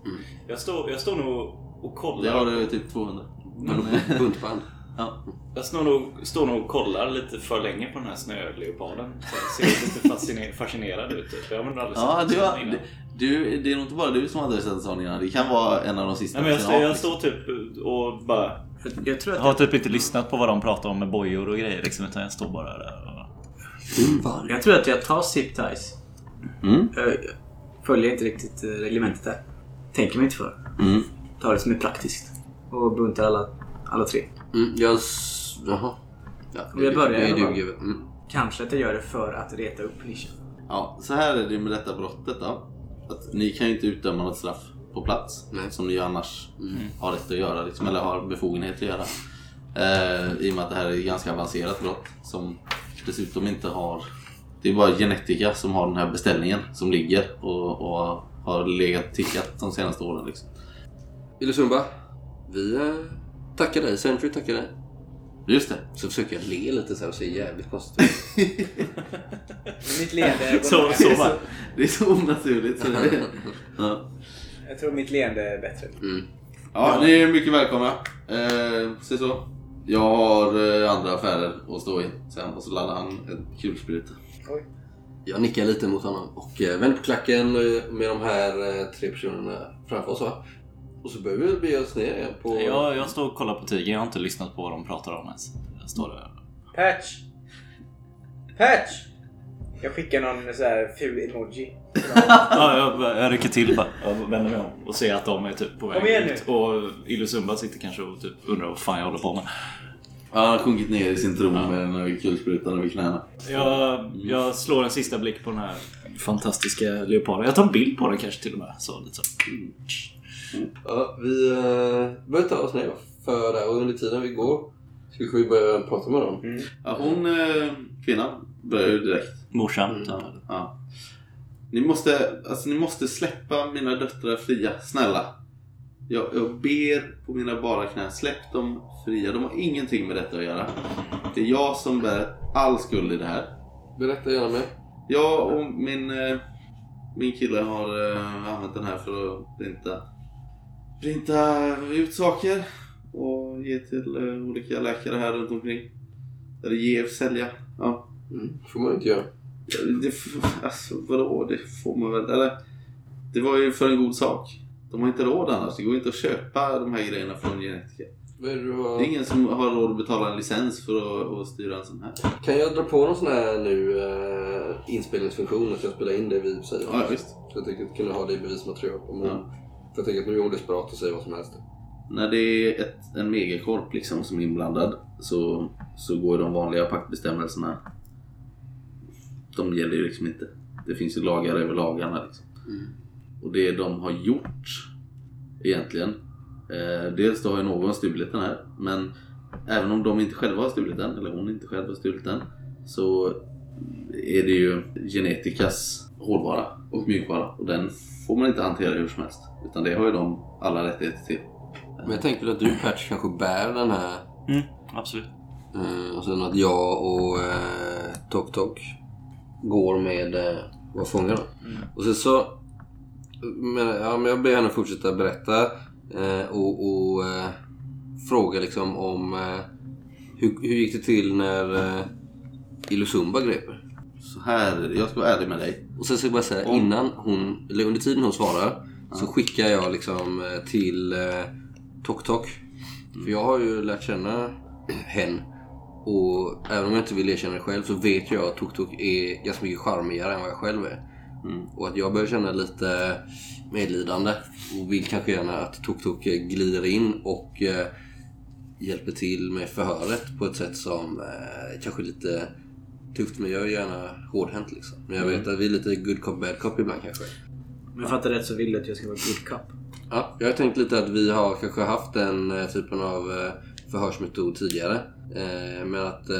Jag står, jag står nog och
Det
kollar.
har du typ 200. Men, eh,
Buntband.
ja.
Jag står nog, står nog och kollar lite för länge på den här snöleoparden. Så jag ser lite fasciner- fascinerad ut. typ. Jag har nog aldrig
ja,
en
du,
sån
har,
innan.
du- du, det är nog inte bara du som hade sett en sån innan. Det kan vara en av de sista.
Nej, men jag,
sen
står, jag
Afrika.
står typ och bara...
Jag, jag tror att
Jag har typ inte lyssnat på vad de pratar om med bojor och grejer liksom, utan jag står bara där och...
jag, jag, tror att jag tar zip ties.
Mm.
Jag följer inte riktigt eh, reglementet där. Tänker mig inte för.
Mm.
Ta det som är praktiskt. Och bunta alla, alla tre.
Mm, jag... s- Jaha. Ja,
Om jag börjar
det
i alla fall.
duger väl. Mm.
Kanske att jag gör det för att reta upp Nisha.
Ja, så här är det med detta brottet då. Att ni kan ju inte utdöma något straff på plats
Nej.
som ni ju annars har rätt att göra, liksom, eller har befogenhet att göra. Eh, I och med att det här är ett ganska avancerat brott som dessutom inte har... Det är bara Genetica som har den här beställningen som ligger och, och har legat tickat de senaste åren. Liksom.
Ilusumba, vi eh, tackar dig. Century tackar dig.
Just det.
Så försöker jag le lite så här och se jävligt konstigt ut.
Mitt leende...
Så, så bara.
Det är så onaturligt. Så det ja.
Jag tror mitt leende är bättre.
Ja, ni är mycket välkomna. Eh, se så. Jag har eh, andra affärer att stå i sen och så laddar han en kulspruta.
Jag nickar lite mot honom och eh, vänder på klacken eh, med de här eh, tre personerna framför oss va? Och så börjar vi bege oss ner igen på...
Jag, jag står och kollar på Tiger. Jag har inte lyssnat på vad de pratar om ens. Jag står där.
Patch! Patch! Jag skickar någon så här ful emoji.
Ja, jag, jag rycker till bara. Jag vänder mig om och ser att de är typ på
Kom igen
väg
nu.
ut. Och Ilusumba sitter kanske och typ undrar vad fan jag håller på med.
Ja, han har sjunkit ner i sin tron med den här kulsprutan över knäna.
Jag, jag slår en sista blick på den här fantastiska leoparden. Jag tar en bild på den kanske till och med. Så, lite så.
Ja, vi eh, börjar ta oss ner för där och under tiden vi går ska vi börja prata med dem.
Mm.
Ja, hon, eh, kvinnan, börjar ju direkt.
Morsan.
Ja.
Typ.
Ja. Ni, måste, alltså, ni måste släppa mina döttrar fria, snälla. Jag, jag ber på mina bara knän, släpp dem fria. De har ingenting med detta att göra. Det är jag som bär all skuld i det här.
Berätta gärna mer.
Jag och min, eh, min kille har eh, använt den här för att printa, printa ut saker och ge till eh, olika läkare här runt omkring. Eller ge och sälja. Ja.
Mm. får man inte göra.
Det, f- alltså vadå, det får man väl. Eller, det var ju för en god sak. De har inte råd annars. Det går inte att köpa de här grejerna från genetiker.
Vad är det du
Det
har...
är ingen som har råd att betala en licens för att, att styra en sån här.
Kan jag dra på någon sån här nu eh, inspelningsfunktion att jag spelar in det vi säger?
Ja, visst.
Så jag tänkte att kunna ha det i bevismaterial. Om hon,
Ja.
För jag tänker att nu är hon desperat och säger vad som helst.
När det är ett, en megakorp liksom som är inblandad så, så går de vanliga paktbestämmelserna. De gäller ju liksom inte. Det finns ju lagar över lagarna. Liksom. Och det de har gjort egentligen. Eh, dels då har ju någon stulit den här. Men även om de inte själva har stulit den, eller hon inte själv har stulit den. Så är det ju Genetikas hårdvara och mjukvara. Och den får man inte hantera hur som helst. Utan det har ju de alla rättigheter till.
Men jag tänker att du Patch kanske bär den här.
Mm, absolut.
Eh, och sen att jag och eh, Tok Tok går med eh, våra fångar. då. Och sen så... Men, ja, men jag ber henne fortsätta berätta eh, och, och eh, fråga liksom om eh, hur, hur gick det till när eh, Ilusumba grep er?
Så här, jag ska vara ärlig med dig.
Och sen ska jag bara säga,
Om-
innan hon, eller under tiden hon svarar så skickar jag liksom eh, till eh, Tok Tok.
Mm.
För jag har ju lärt känna hen. Och även om jag inte vill erkänna det själv så vet jag att Tok Tok är ganska mycket charmigare än vad jag själv är.
Mm.
Och att jag börjar känna lite medlidande och vill kanske gärna att Tok Tok eh, glider in och eh, hjälper till med förhöret på ett sätt som eh, kanske är lite tufft men jag är gärna hårdhänt liksom. Men jag vet att vi är lite good cop bad cop ibland kanske.
Om jag fattar rätt så vill du att jag ska vara good cup.
Ja, jag har tänkt lite att vi har kanske haft den eh, typen av eh, förhörsmetod tidigare. Eh, Men att eh,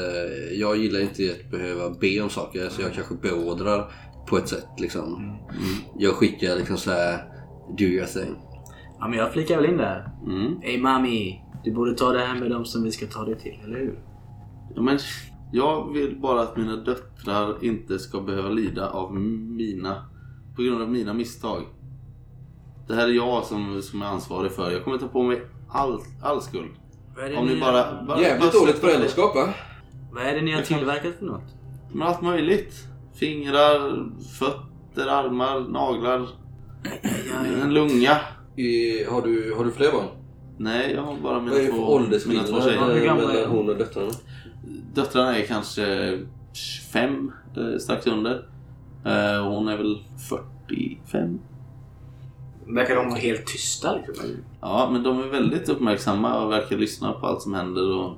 jag gillar inte att behöva be om saker så jag kanske beordrar på ett sätt liksom. Jag skickar liksom så här do your thing.
Ja men jag flikar väl in där.
Mm.
Ey mami! Du borde ta det här med dem som vi ska ta det till, eller hur?
Ja, men jag vill bara att mina döttrar inte ska behöva lida av mina, på grund av mina misstag. Det här är jag som, som är ansvarig för. Jag kommer ta på mig all, all skuld.
Vad är det,
Om ni bara... bara
Jävligt
bara-
dåligt föräldraskap va?
vad är det ni har tillverkat för något?
Men allt möjligt. Fingrar, fötter, armar, naglar. En lunga.
I- Har du, har du fler barn?
Nej, jag har bara
Vad är det
mina
för
två, mina två
åldersskillnad
tjejer.
Hur
eh,
gamla är
mellan
de?
hon och döttrarna?
Döttrarna är kanske fem, eh, strax under. Eh, och Hon är väl 45.
Verkar de vara helt tysta liksom?
Ja, men de är väldigt uppmärksamma och verkar lyssna på allt som händer och,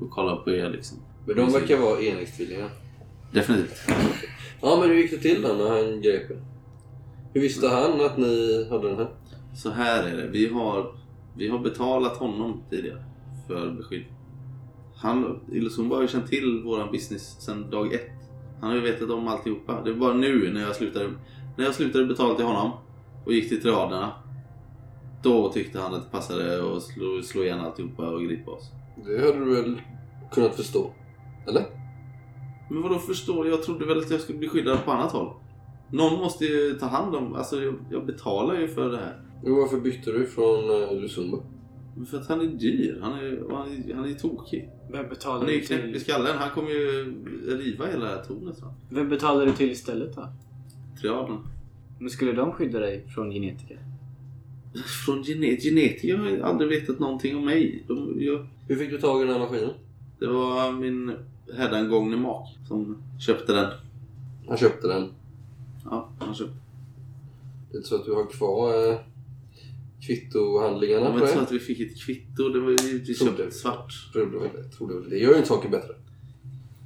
och kolla på er liksom.
Men de verkar vara enäggstvillingar.
Definitivt.
Ja, men hur gick det till då när han grep er? Hur visste han att ni hade den här?
Så här är det. Vi har, vi har betalat honom tidigare för beskydd. Han, Ilsumba har ju känt till våran business sedan dag ett. Han har ju vetat om alltihopa. Det var bara nu när jag slutade, när jag slutade betala till honom och gick till triaderna. Då tyckte han att det passade att slå, slå igen alltihopa och gripa oss.
Det hade du väl kunnat förstå? Eller?
Men vadå förstår? Jag trodde väl att jag skulle bli skyddad på annat håll. Någon måste ju ta hand om... Alltså jag, jag betalar ju för det här.
Jo, varför bytte du från eh, Lusumba?
Men För att han är dyr. Han är, och han är, han är tokig.
Vem
Han
betalar,
är ju
du
knäpp i
till,
skallen. Han kommer ju riva hela det här tornet. va?
vem betalar du till istället då?
Triaden.
Men skulle de skydda dig från genetiker?
Från gene, genetiker har ju aldrig vetat någonting om mig. De, jag,
Hur fick du tag i den här maskinen?
det var min hädangångne mak som köpte den.
Han köpte den.
Ja, han köpte.
Det är inte så att du har kvar eh, kvittohandlingarna
Jag
på
vet så
det?
att vi fick ett kvitto. Det var ju vi
Tror
köpte
det.
svart.
Tror du väl det? Tror du väl det? Det gör ju inte saker bättre.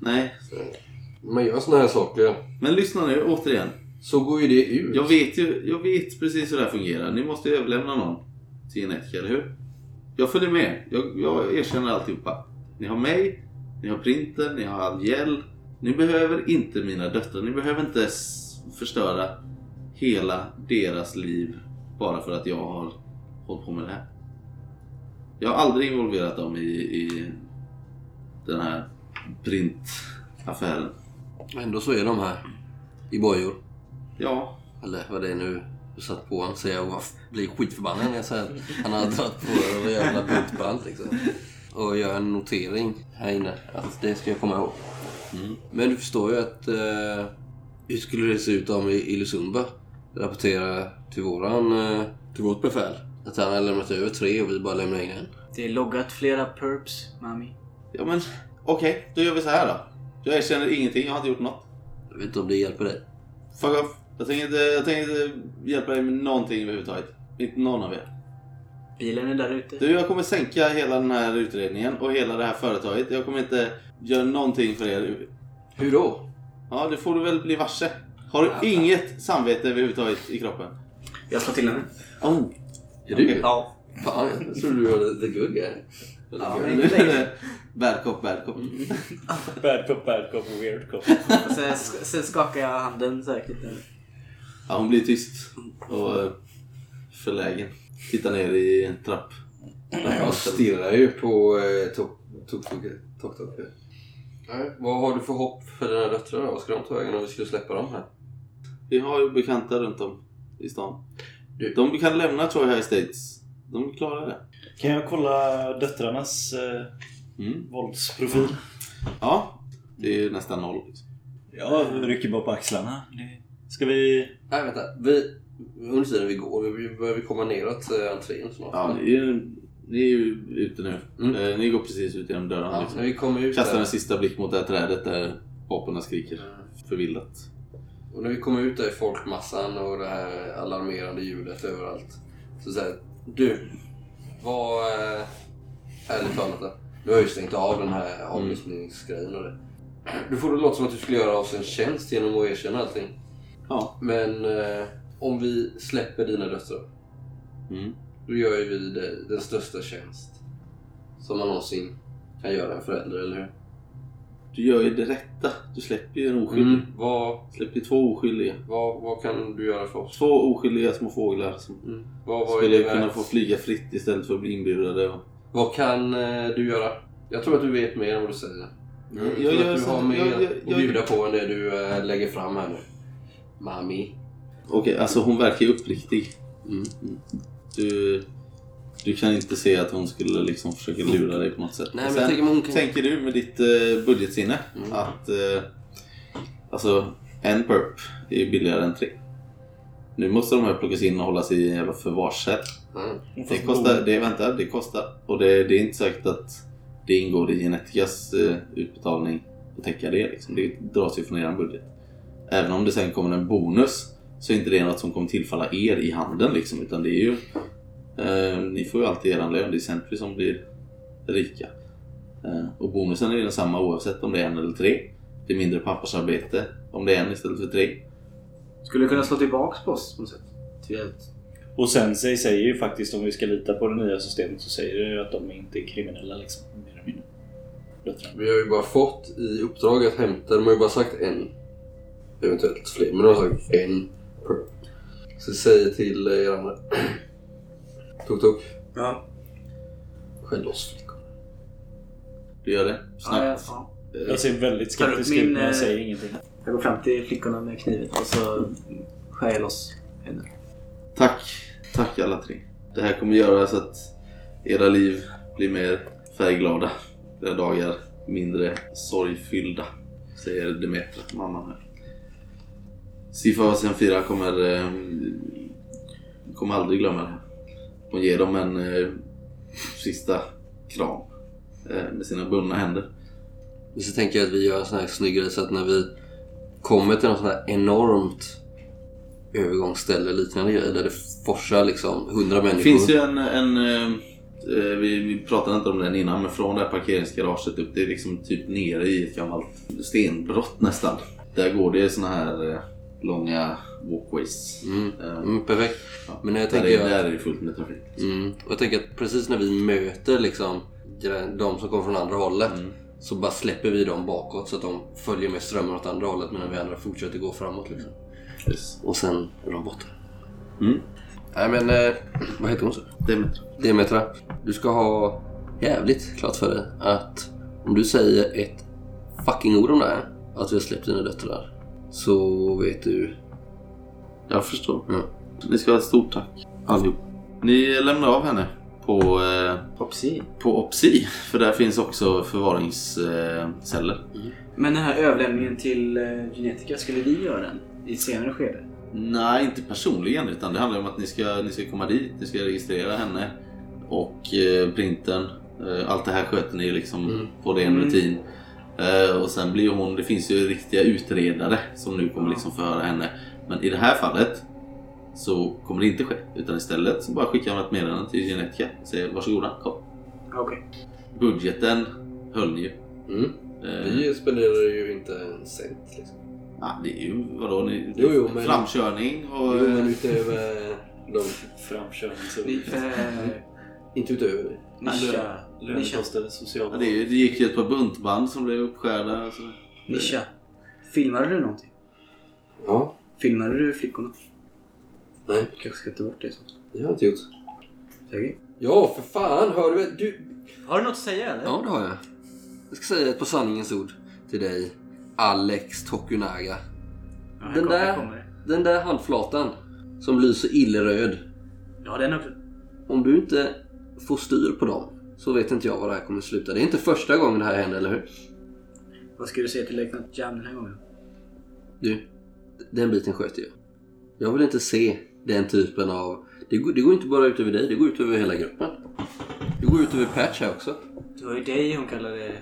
Nej.
Man gör såna här saker,
Men lyssna nu återigen.
så går ju det ut.
Jag vet ju jag vet precis hur det här fungerar. Ni måste ju överlämna någon till genetiker, eller hur? Jag följer med. Jag, jag erkänner alltihopa. Ni har mig, ni har printen, ni har Algel. Ni behöver inte mina döttrar. Ni behöver inte s- förstöra hela deras liv bara för att jag har hållit på med det här. Jag har aldrig involverat dem i, i den här printaffären.
Ändå så är de här. I bojor.
Ja,
Eller vad det är nu du satt på honom. Så jag var- blir skitförbannad när jag säger att han har dragit på en jävla buntband liksom. Och gör en notering här inne. Att det ska jag komma ihåg. Men du förstår ju att eh, hur skulle det se ut om Ilusumba rapporterar till våran, eh, till vårt befäl? Att han har lämnat över tre och vi bara lämnar in en.
Det är loggat flera perps, mami.
Ja men okej, då gör vi så här då. Jag erkänner ingenting, jag har inte gjort något.
Jag vet inte om det hjälper dig.
Fuck off. Jag tänker inte, jag tänker inte hjälpa dig med någonting överhuvudtaget. Inte någon av er.
Bilen är där ute.
Du, jag kommer sänka hela den här utredningen och hela det här företaget. Jag kommer inte göra någonting för er.
Hur då?
Ja, det får du väl bli varse. Har du inget samvete överhuvudtaget i kroppen?
Jag slår till henne.
Oh, är du?
Okej.
Ja.
Fan, jag trodde du var the good guy.
Ja, men nu är det bad cop, bad cop.
Bad cop, bad cop och weird cop.
Och sen, sen skakar jag handen säkert.
Ja, hon blir tyst och eh, förlägen. Tittar ner i en trapp.
Jag stirrar ju på eh, Tok- Tok- Tok- Tok. Nej, Vad har du för hopp för dina döttrar då? Vad ska de ta vägen om vi skulle släppa dem här?
Vi har ju bekanta runt om i stan.
Du-
De kan lämna Troy High States. De klarar det.
Kan jag kolla döttrarnas eh,
Mm.
våldsprofil?
Ja, det är ju nästan noll. liksom.
Jag rycker bara på axlarna. Det- Ska vi...
Nej, vänta. Vi, under tiden vi går, vi börjar vi komma neråt eh, entrén snart.
Ja, ni är ju, ni är ju ute nu.
Mm.
Eh, ni går precis ut genom dörren.
Ja,
liksom.
när vi kommer ut
Kastar
där,
en sista blick mot det här trädet där aporna skriker förvillat.
och när vi kommer ut där i folkmassan och det här alarmerande ljudet överallt. Så säger du, vad... eh, Ärligt talat då. Du har ju stängt av den här avlyssningsgrejen och det. Du får det låta som att du skulle göra oss en tjänst genom att erkänna allting.
Ja.
Men eh, om vi släpper dina döttrar.
Mm.
Då gör ju vi dig den största tjänst som man någonsin kan göra en förälder, eller hur?
Du gör ju det rätta. Du släpper ju en oskyldig.
Vad,
Släpper ju två oskyldiga.
vad, vad kan du göra för oss?
Två oskyldiga små fåglar som
Mm. Vad, vad, är
skulle
det
kunna
värt?
få flyga fritt istället för att bli inburade. Och...
vad kan eh, du göra? Jag tror att du vet mer än vad du säger. Jag,
Jag
tror
gör
att du
så-
har
jag-
mer
jag-
att
jag-
bjuda på än det du eh, lägger fram här nu. Mami.
Okej, alltså hon verkar ju uppriktig. Mm. Du, du kan inte se att hon skulle liksom försöka lura dig på något sätt.
Nej,
Och
men
sen
jag tänker Mm. hon kan...
tänker du med ditt eh, budgetsinne att eh, alltså, en perp är ju billigare än tre. Nu måste de här plockas in och hållas i en jävla förvarshäll.
Mm.
Det kostar, det, vänta, det kostar. Och det, det är inte säkert att det ingår i Genetikas eh, utbetalning att täcka det. Liksom. Det dras ju från er budget. Även om det sen kommer en bonus så är inte det något som kommer tillfalla er i handen liksom. Utan det är ju... Eh, ni får ju alltid er lön. Det är Sentry som blir rika. Eh, och bonusen är ju densamma oavsett om det är en eller tre. Det är mindre pappersarbete om det är en istället för tre.
Skulle kunna slå tillbaks på oss på något sätt. Till hjälp.
Och Sensei säger ju faktiskt, om vi ska lita på det nya systemet, så säger det ju att de inte är kriminella liksom. Mer eller mindre. Döttrarna.
Vi har ju bara fått i uppdrag att hämta, de har ju bara sagt en. Eventuellt fler, men de har sagt en per. Så säg till eh, er andra. Tok Tok,
Ja.
skäll loss flickor.
Du gör det?
Ja,
Snabbt.
ja, ja.
Jag ser väldigt
Tar upp
skeptisk
min,
ut men jag
eh,
säger ingenting.
Jag går fram till flickorna med kniven och så skär jag loss henne.
Tack. Tack alla tre. Det här kommer göra så att era liv blir mer färgglada. Era dagar mindre sorgfyllda. Säger Demetra, mamman här. Sifa och Senfira kommer, eh, kommer aldrig glömma det här. Hon ger dem en eh, sista kram eh, med sina bundna händer.
Men så tänker jag att vi gör en sån här snygg grej så att när vi kommer till något sån här enormt övergångsställe liknande grejer där det forsar liksom hundra
Det
människor.
finns ju en... en eh, eh, vi, vi pratade inte om den innan, men från det här parkeringsgaraget upp, det är liksom typ nere i ett gammalt stenbrott nästan. Där går det såna här eh, långa walkways.
Mm.
Eh,
Mm, perfekt.
ja.
men jag
där,
tänker
är,
att-
där är det fullt med trafik.
Mm. Och jag tänker att precis när vi möter liksom grä- de som kommer från andra hållet
Mm.
så bara släpper vi dem bakåt så att de följer med strömmen åt andra hållet medan vi andra fortsätter gå framåt. Liksom.
Yes.
Och sen är de borta.
Mm.
Nej men, eh, vad heter hon så?
Det är metro.
Demetra, du ska ha jävligt klart för dig att om du säger ett fucking ord om det här, att vi har släppt dina döttrar, så vet du.
Jag förstår.
Mm.
Ni ska ha ett stort tack allihop. Ni lämnar av henne på, eh,
Popsi.
på Opsi, för där finns också förvaringsceller.
Men den här överlämningen till eh, Genetica, skulle vi göra den i ett senare skede?
Nej, inte personligen. Utan det handlar om att ni ska, ni ska komma dit, ni ska registrera henne och eh, printen. Eh, allt det här sköter ni liksom på ren
Mm.
rutin. Eh, och sen blir ju hon, det finns ju riktiga utredare som nu kommer liksom förhöra henne. Men i det här fallet så kommer det inte ske. Utan istället så bara skickar man ett meddelande till Genetica och säger varsågoda, kom.
Okej.
Budgeten höll ni ju.
Mm.
Eh,
Vi spenderar ju inte en cent. Liksom.
ja, ah, det är ju, vadå, ni,
Jo, jo, men-
framkörning och... eh,
Jo, men utöver de...
Framkörning.
Vi, eh,
Inte utöver det.
Nisha. Nisha.
Löneposter, sociala...
Ja, det, är ju, det gick ju ett par buntband som blev uppskärda. Alltså.
Nisha. Filmade du någonting?
Ja.
Filmade du flickorna?
Nej.
Kanske ska ta bort det. Så.
Det har jag inte gjort.
Säkert.
Ja, för fan! Hör du? du...
Har du något att säga eller?
Ja, det har jag. Jag ska säga ett par sanningens ord till dig, Alex Tokunaga.
Ja, här
Den
kom- här
där-
kommer det.
Den där handflatan som lyser illröd.
Ja, den också.
Om du inte får styr på dem så vet inte jag var det här kommer sluta. Det är inte första gången det här händer, eller hur?
Vad ska du säga till löjtnant Jam den här gången?
Du, den biten sköter jag. Jag vill inte se den typen av... Det går, det går inte bara ut över dig, det går ut över hela gruppen. Det går ut över Patch här också.
Det var ju dig hon kallade...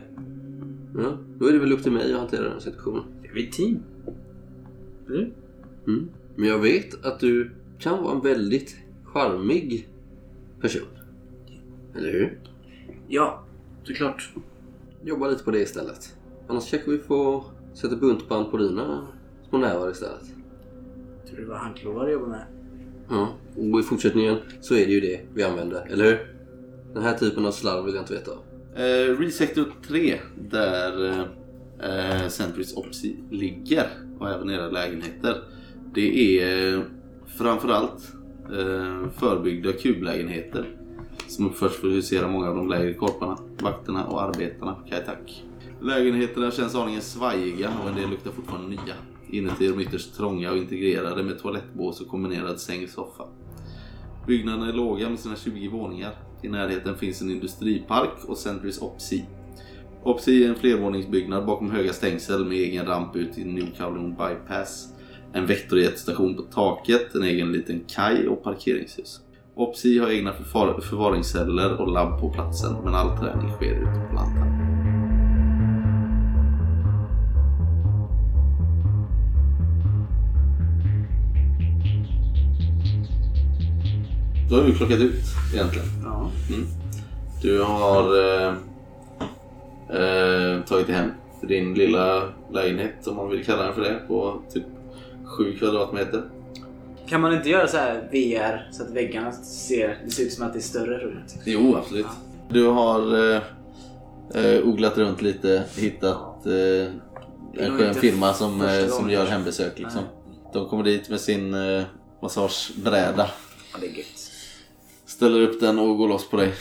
Ja, då är det väl upp till mig att hantera den här situationen.
Det är vi ett team? Du?
Mm. Men jag vet att du kan vara en väldigt charmig person. Eller hur?
Ja, såklart.
Jobba lite på det istället. Annars kanske vi får sätta buntband på dina små nävar istället.
Tror du det var handklovar du jobbade med?
Ja, och i fortsättningen så är det ju det vi använder, eller hur? Den här typen av slarv vill jag inte veta av.
Eh, Resector 3 där eh, eh, Centuries Opsi ligger och även era lägenheter. Det är eh, framförallt eh, förbyggda kublägenheter som uppförs för att husera många av de lägre korparna, vakterna och arbetarna på Kajtak. Lägenheterna känns aningen svajiga och en del luktar fortfarande nya. Inuti är de ytterst trånga och integrerade med toalettbås och kombinerad säng-soffa. Byggnaderna är låga med sina 20 våningar. I närheten finns en industripark och Centuries Opsi. Opsi är en flervåningsbyggnad bakom höga stängsel med egen ramp ut till New Kowloon Bypass. En väktarjetstation på taket, en egen liten kaj och parkeringshus. Opsi har egna förfar- förvaringsceller och labb på platsen men all träning sker ute på landet. Då har vi plockat ut egentligen.
Ja.
Du har eh, eh, tagit hem din lilla lägenhet, om man vill kalla den för det, på typ 7 kvadratmeter.
Kan man inte göra så här VR så att väggarna ser, det ser ut som att det är större rummet?
Jo, absolut. Du har eh, eh, oglat runt lite, hittat eh,
är nog
en skön
inte
firma som,
första
eh, som
gången
gör
kanske.
hembesök. Liksom. De kommer dit med sin eh, massagebräda,
Ja, det är gött.
ställer upp den och går loss på dig.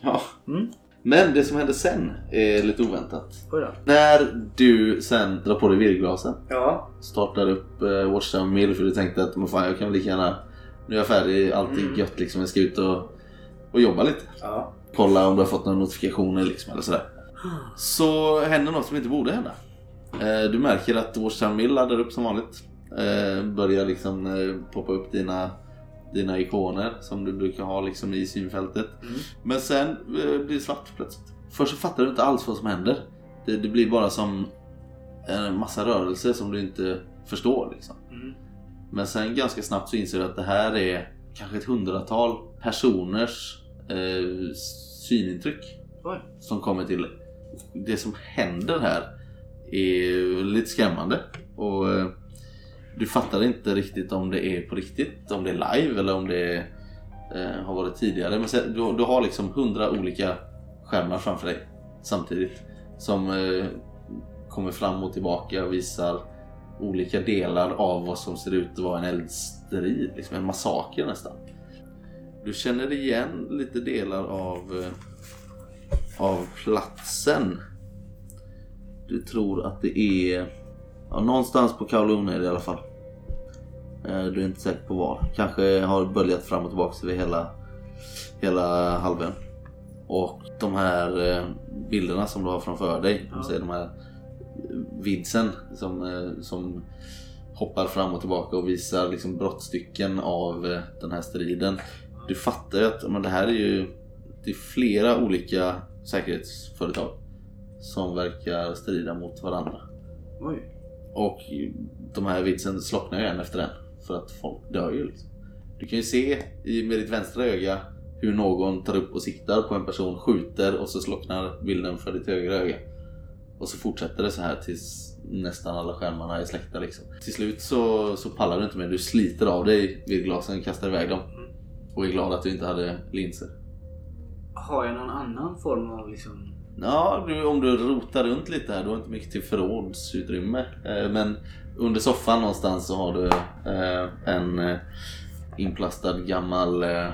Ja.
Mm.
Men det som händer sen är lite oväntat.
Oj då.
När du sen drar på dig virrglasen,
Ja.
startar upp eh, Watchdown Mill för du tänkte att men fan, jag kan väl lika gärna, nu är jag färdig, allt är gött liksom, jag ska ut och, och jobba lite.
Ja.
Kolla om du har fått några notifikationer liksom, eller sådär. Så händer något som inte borde hända. Eh, Du märker att Watchdown Mill laddar upp som vanligt. Eh, Börjar liksom eh, poppa upp dina, dina ikoner som du brukar ha liksom i synfältet. Men sen eh, blir det svart plötsligt. Först så fattar du inte alls vad som händer. Det, det blir bara som en massa rörelser som du inte förstår. Liksom.
Mm.
Men sen ganska snabbt så inser du att det här är kanske ett hundratal personers eh, synintryck
Oj.
som kommer till dig. Det som händer här är lite skrämmande. Och eh, Du fattar inte riktigt om det är på riktigt, om det är live eller om det är, eh, har varit tidigare. Men sen, du, du har liksom hundra olika skärmar framför dig samtidigt som eh, kommer fram och tillbaka och visar olika delar av vad som ser ut att vara en eldstrid, liksom en massaker nästan. Du känner igen lite delar av, eh, av platsen. Du tror att det är ja, någonstans på Kowloon är det i alla fall. Eh, Du är inte säker på var. Kanske har böljat fram och tillbaka över hela, hela halvön. Och de här eh, bilderna som du har framför dig,
Ja.
ja. de här vidsen som, eh, som hoppar fram och tillbaka och visar liksom brottstycken av eh, den här striden. Du fattar ju att men det här är ju det är flera olika säkerhetsföretag som verkar strida mot varandra.
Oj.
Och de här vitsen slocknar ju en efter en. För att folk dör ju liksom. Du kan ju se i, med ditt vänstra öga hur någon tar upp och siktar på en person, skjuter och så slocknar bilden för ditt högra öga. Och så fortsätter det så här tills nästan alla skärmarna är släckta liksom. Till slut så, så pallar du inte mer. Du sliter av dig virrglasen, kastar iväg dem. Och är glad att du inte hade linser.
Har jag någon annan form av liksom...
Ja, du, om du rotar runt lite här, du har inte mycket till förrådsutrymme. Eh, Men under soffan någonstans så har du eh, en eh, inplastad gammal eh,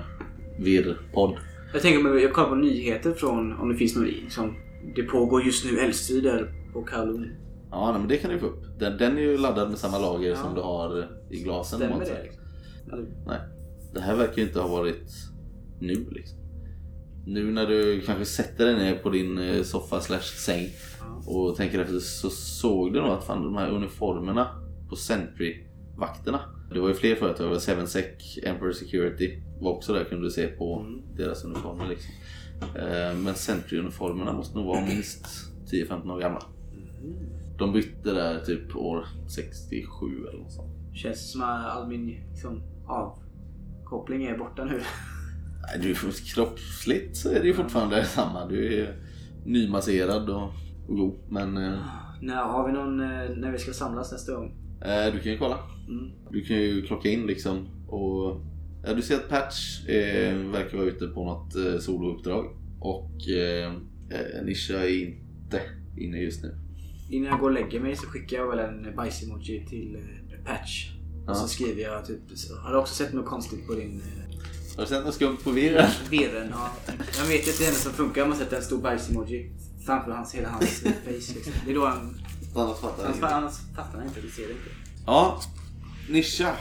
virrpodd.
Jag tänker om jag- jag kollar på nyheter från om det finns någon liksom... Det pågår just nu eldstrider på Kowloon.
Ja, nej, men det kan du få upp. Den, den är ju laddad med samma lager
Ja.
som du har i glasen. på
Stämmer
något
det?
sätt.
Liksom? Eller-
Nej. Det här verkar ju inte ha varit nu liksom. Nu när du kanske sätter dig ner på din eh, soffa slash säng och tänker efter så såg du nog att fan, de här uniformerna på Sentry-vakterna. Det var ju fler företag, det var Seven Sec, Emperor Security var också där kunde du se på
Mm.
deras uniformer. Liksom. Eh, Men Sentry-uniformerna måste nog vara minst 10-15 år gamla. De bytte där typ år 67 eller något sånt.
Känns som att all min liksom, avkoppling är borta nu.
Nej, Du, kroppsligt så är det ju fortfarande samma. Du är nymasserad och, och god. Men eh,
När, har vi någon eh, när vi ska samlas nästa gång?
eh, du kan ju kolla.
Mm.
Du kan ju klocka in liksom. Och, ja, du ser att Patch eh, verkar vara ute på något eh, solouppdrag. Och eh, eh, Nisha är inte inne just nu.
Innan jag går och lägger mig så skickar jag väl en bajs-emoji till eh, Patch.
Ja.
Och så skriver jag typ, har du också sett något konstigt på din eh,
Har du sett något skumt på virren?
virren? Ja. Jag vet ju att det enda som funkar är om man sätter en stor bajs-emoji framför hans, hela hans eh, face. Liksom. Det är då han,
Annars fattar jag
annars,
inte.
annars fattar han inte, vi ser det inte.
Ja, Nisha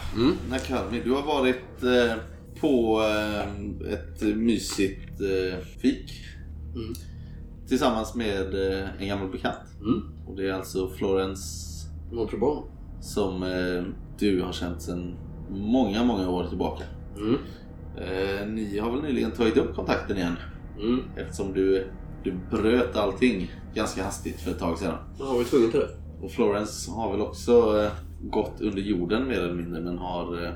Nakami, du har varit eh, på eh, ett mysigt eh, fik. Tillsammans med eh, en gammal bekant.
Mm.
Och det är alltså Florence
Montrobon.
som eh, du har känt sedan många, många år tillbaka.
Mm.
Eh, ni har väl nyligen tagit upp kontakten igen?
Mm.
Eftersom du, du bröt allting ganska hastigt för ett tag sedan.
Då har vi tvungen till det.
Och Florence har väl också eh, gått under jorden mer eller mindre men har, eh,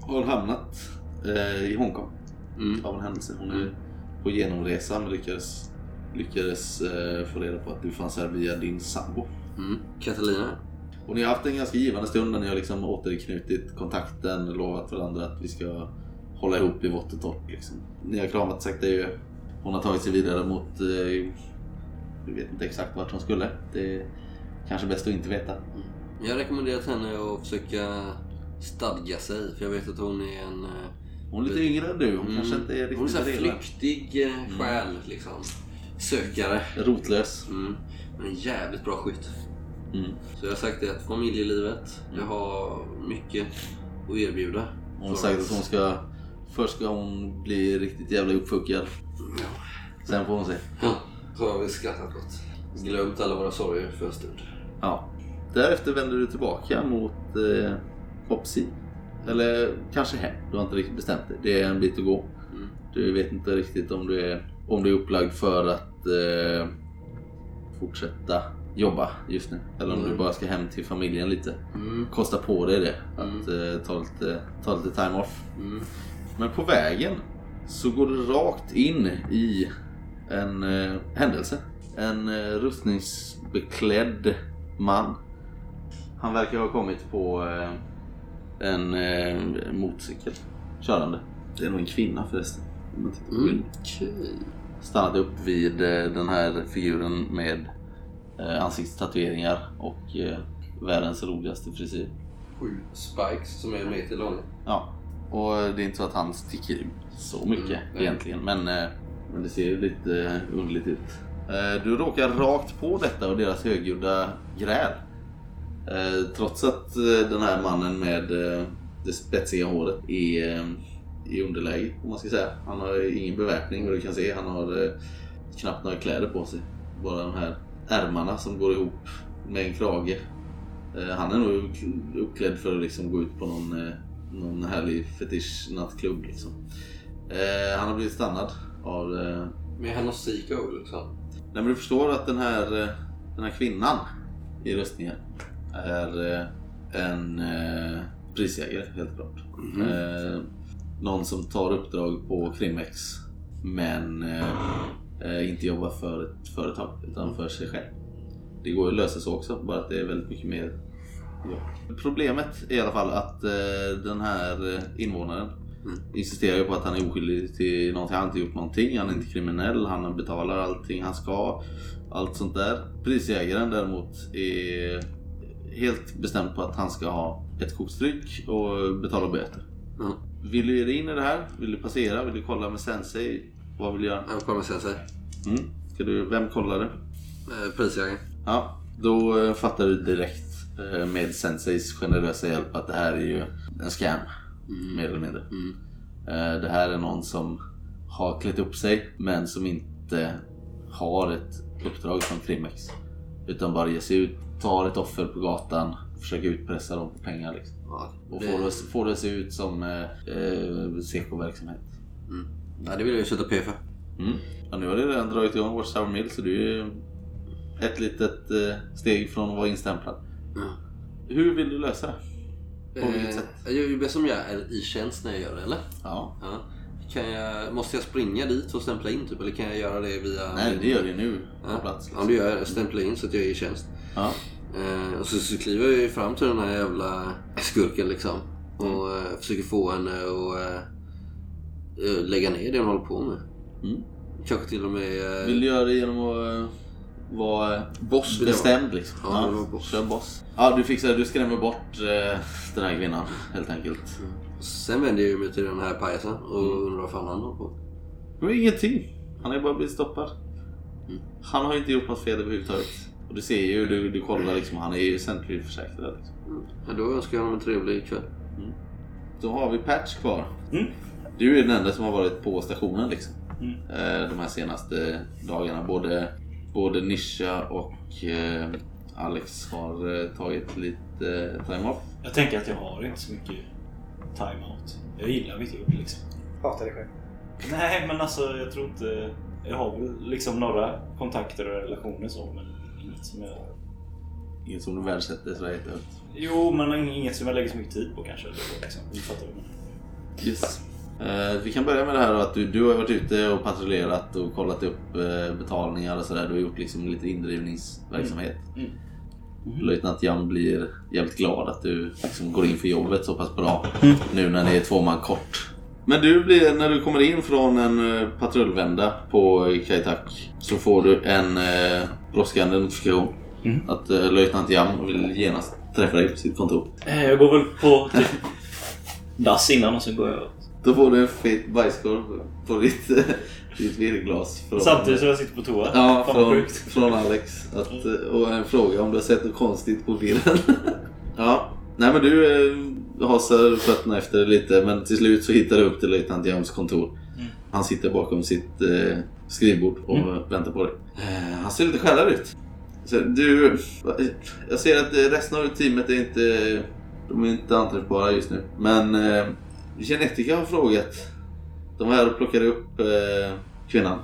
har hamnat eh, i Hongkong. mm. av en händelse. Hon är på genomresa men lyckades, lyckades eh, få reda på att du fanns här via din sambo.
Mm. Catalina?
Och ni har haft en ganska givande stund när ni har liksom återknutit kontakten och lovat varandra att vi ska hålla ihop i vått och torrt. Liksom. Ni har kramat sakta ju. Hon har tagit sig vidare mot... Eh, vi vet inte exakt vart hon skulle. Det är kanske bäst att inte veta.
Jag rekommenderar till henne att försöka stadga sig för jag vet att hon är en... eh,
Hon är lite yngre än du. Hon kanske inte är riktigt
Mm. hon är så här
redo. Mm.
flyktig eh, själ liksom. Sökare.
Rotlös.
Mm. Men en jävligt bra skytt.
Mm.
Så jag har sagt det att familjelivet, jag har mycket att erbjuda.
Hon har sagt att hon ska... Först ska hon bli riktigt jävla uppfuckad. Sen får hon se.
Ja, så har vi skrattat gott. Glömt alla våra sorger för en stund.
Ja. Därefter vänder du tillbaka mot eh, Opsi. Eller kanske hem. Du har inte riktigt bestämt dig. Det är en bit att gå.
Mm.
Du vet inte riktigt om du är, om du är upplagd för att eh, fortsätta jobba just nu. Eller om
Mm.
du bara ska hem till familjen lite.
Mm.
Kosta på dig det. Att eh, ta, lite, ta lite time off.
Mm.
Men på vägen så går du rakt in i en eh, händelse. En eh, rustningsbeklädd man. Han verkar ha kommit på eh, en eh, motorcykel körande. Det är nog en kvinna förresten. Om
Mm.
man tittar på bilden. Stannat upp vid eh, den här figuren med eh, ansiktstatueringar och eh, världens roligaste frisyr.
Sju spikes som är en meter långa.
Ja, och det är inte så att han sticker ut så mycket
Mm, nej.
egentligen. Men, eh, men det ser ju lite eh, underligt ut. Eh, Du råkar rakt på detta och deras högljudda gräl. Eh, Trots att eh, den här mannen med eh, det spetsiga håret är eh, i underläge, om man ska säga. Han har ingen beväpning, men du kan se han har eh, knappt några kläder på sig. Bara de här ärmarna som går ihop med en krage. Eh, Han är nog uppklädd för att liksom gå ut på någon, eh, någon härlig fetisch-nattklubb. Liksom. Eh, Han har blivit stannad av... eh,
Men han har psycho liksom.
Nej, men du förstår att den här, eh, den här kvinnan i rustningen är eh, en eh, prisjägare, helt klart. Eh, Någon som tar uppdrag på Krimex, men eh, eh, inte jobbar för ett företag, utan för sig själv. Det går ju att lösa så också, bara att det är väldigt mycket mer jobb. Problemet är i alla fall att eh, den här eh, invånaren insisterar ju på att han är oskyldig till någonting. Han har inte gjort någonting, han är inte kriminell, han betalar allting han ska. Allt sånt där. Prisjägaren däremot är helt bestämd på att han ska ha ett kokstryck och betala böter.
Mm.
Vill du ge dig in i det här? Vill du passera? Vill du kolla med sensei? Vad vill du göra?
Han kommer säga sig.
Mm. Ska du, vem kollar du?
Eh, Prisjägaren.
Ja, då eh, fattar du direkt eh, med Senseis generösa hjälp att det här är ju en scam.
Mm.
Mer eller mindre. Eh, Det här är någon som har klätt upp sig men som inte har ett uppdrag från Krimex. Utan bara ger sig ut, tar ett offer på gatan, försöker utpressa dem på pengar. Liksom.
Ja,
Och
det-
får det, får det se ut som eh, eh, SEKO-verksamhet.
Nej, det vill jag ju sätta P för.
Mm. Ja, nu har det redan dragit igång vårt Sour Mill så du är ju ett litet eh, steg från att vara instämplad.
Ja.
Hur vill du lösa det? På vilket
Eh,
sätt?
Jag gör ju bäst som jag är i tjänst när jag gör det, eller?
Ja.
Ja. Kan jag, måste jag springa dit och stämpla in typ? Eller kan jag göra det via...
Nej, det gör du ju nu på
Ja.
plats. liksom.
Ja, det gör jag. Stämpla in så att jag är i tjänst.
Ja.
Eh, och så, så kliver jag ju fram till den här jävla skurken liksom. Och
Mm.
eh, försöker få henne att eh, eh, lägga ner det hon håller på med.
Mm.
Kanske till och med... Eh,
Vill du göra det genom att eh, vara eh,
Boss vill jag
bestämd liksom?
Ja, det var boss.
Kör boss. Ja, du fixar Du skrämmer bort eh, den här kvinnan helt enkelt.
vara. Sen vänder jag mig till den här pajasen och
Mm.
undrar vad fan han håller på med.
Det var ingenting. Han har ju bara blivit stoppad.
Mm.
Han har ju inte gjort något fel överhuvudtaget. Och du ser ju, du, du kollar liksom, han är ju centralförsäkrad. Liksom.
Ja, då önskar jag honom en trevlig kväll.
Då har vi Patch kvar.
Mm.
Du är den enda som har varit på stationen liksom.
Mm.
Eh, De här senaste dagarna. Både, både Nisha och eh, Alex har eh, tagit lite eh, time off.
Jag tänker att jag har inte så mycket time-out. Jag gillar mitt jobb liksom.
Hatar dig själv.
Nej, men alltså jag tror inte... Jag har väl liksom några kontakter och relationer så, men inget som jag...
Inget som du värdesätter sådär jättehögt.
Jo, men inget som jag lägger så mycket tid på kanske. eller så, Liksom. Du fattar vad jag menar.
Yes. Eh, vi kan börja med det här då, att du, du har varit ute och patrullerat och kollat upp eh, betalningar och sådär. Du har gjort liksom lite indrivningsverksamhet.
Mm.
Löjtnant Jan blir jävligt glad att du liksom går in för jobbet så pass bra nu när ni är två man kort. Mm. Men du blir, när du kommer in från en eh, patrullvända på Kajtak så får du en eh, brådskande notifikation att eh, löjtnant Jan vill genast träffa dig på sitt kontor.
Eh, Jag går väl på typ dass innan och sen går jag
Då får du en fet bajskorv på ditt, eh, ditt virrglas. från-
Samtidigt som jag sitter på toa.
Ja,
Fan
från,
vad sjukt.
från Alex. Att, eh, och en fråga om du har sett något konstigt på virren. ja. Nej men du eh, hasar fötterna efter det lite men till slut så hittar du upp till löjtnant Jams kontor.
Mm.
Han sitter bakom sitt eh, skrivbord och eh, väntar på dig. Eh, han ser lite skärrad ut. Så, du, jag ser att eh, resten av teamet är inte, de är inte anträffbara just nu. Men eh, Genetica har frågat. De var här och plockade upp eh, kvinnan.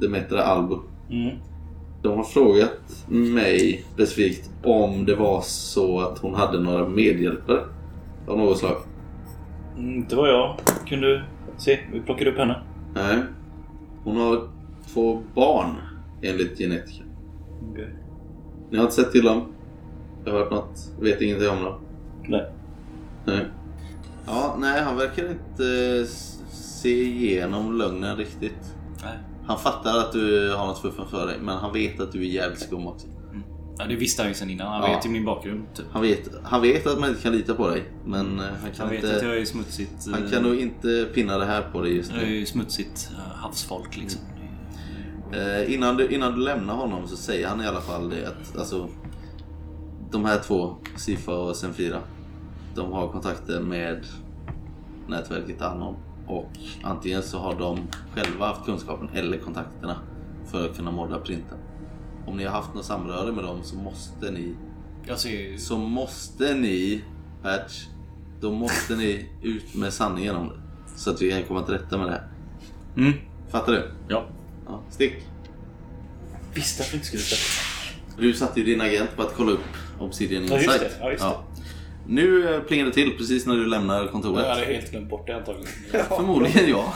Demetra Albo.
Mm.
De har frågat mig specifikt om det var så att hon hade några medhjälpare av något slag.
Mm, Inte vad jag kunde se. Vi plockade upp henne.
Nej. Hon har två barn enligt genetiken. Ni har inte sett till dem? Jag har hört något? Vet ingenting om dem?
Nej.
Nej. Ja, nej, han verkar inte eh, s- se igenom lögnen riktigt.
Nej.
Han fattar att du har något fuffens för dig, men han vet att du är jävligt skum också.
Ja, det visste han ju sen innan. Han
Ja.
vet ju min bakgrund. Typ.
Han vet, han vet att man inte kan lita på dig, men eh, han kan
Han vet
inte...
att jag är smutsigt, eh,
Han kan nog inte pinna det här på dig just
jag är
nu.
ju smutsigt eh, havsfolk liksom.
Eh, innan, du, innan du lämnar honom så säger han i alla fall det att alltså, de här två, Sifa och Senfira, de har kontakter med nätverket Anom. Och antingen så har de själva haft kunskapen eller kontakterna för att kunna modda printen. Om ni har haft något samröre med dem så måste ni
Jag ser ju...
så måste ni, Patch, då måste ni ut med sanningen om det. Så att vi kan komma till rätta med det här.
Mm.
Fattar du?
Ja.
ja. Stick.
Visste att vi inte skulle släppa.
Du satte ju din agent på att kolla upp Obsidian
Ja,
Insight.
just det. Ja, just det.
Nu eh, plingar det till precis när du lämnar kontoret.
Jag hade helt glömt bort det antagligen.
Förmodligen ja.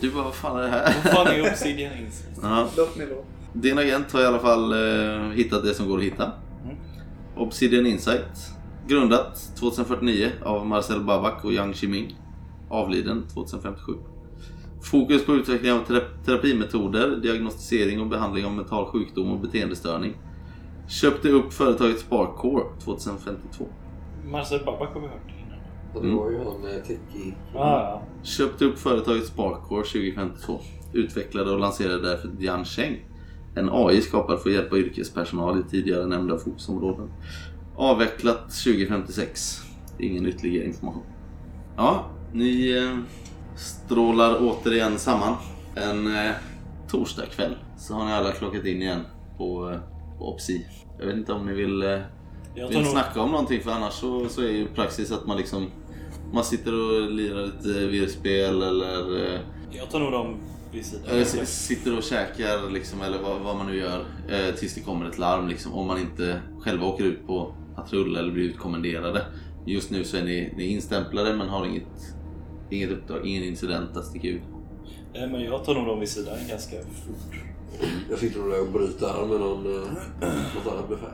Du bara, vad fan är det här?
Fan är Obsidian Insight?
Ja.
Låt mig vara.
Din agent har i alla fall eh, hittat det som går att hitta.
Mm.
Obsidian Insight. Grundat 2049 av Marcel Babak och Yang Qiming. Avliden 2057. Fokus på utveckling av terap- terapimetoder, diagnostisering och behandling av mental sjukdom och beteendestörning. Köpte upp företaget Sparkcore 2052.
Marcel Babak har vi hört innan.
Och det var ju han eh, Tiki.
Ah,
Köpte upp företaget Sparkcore 2052. Utvecklade och lanserade därför Dian Cheng. En AI skapad för att hjälpa yrkespersonal i tidigare nämnda fokusområden. Avvecklat 2056. Ingen ytterligare information. Ja, ni eh, strålar återigen samman. En eh, torsdagkväll så har ni alla klockat in igen på, eh, på Opsi. Jag vet inte om ni vill eh,
jag
vi
tar
vill
nog...
snacka om någonting för annars så, så är ju praxis att man liksom man sitter och lirar lite virrspel eller, eh,
Jag tar nog dem vid sidan.
eller s- sitter och käkar liksom, eller vad, vad man nu gör eh, tills det kommer ett larm. Liksom, om man inte själva åker ut på patrull eller blir utkommenderade. Just nu så är ni, ni är instämplade men har inget, inget uppdrag, ingen incident att sticka ut.
Eh, Men jag tar nog dem vid sidan ganska fort.
Jag fick nog där och bryta armen med någon, eh, något annat befäl.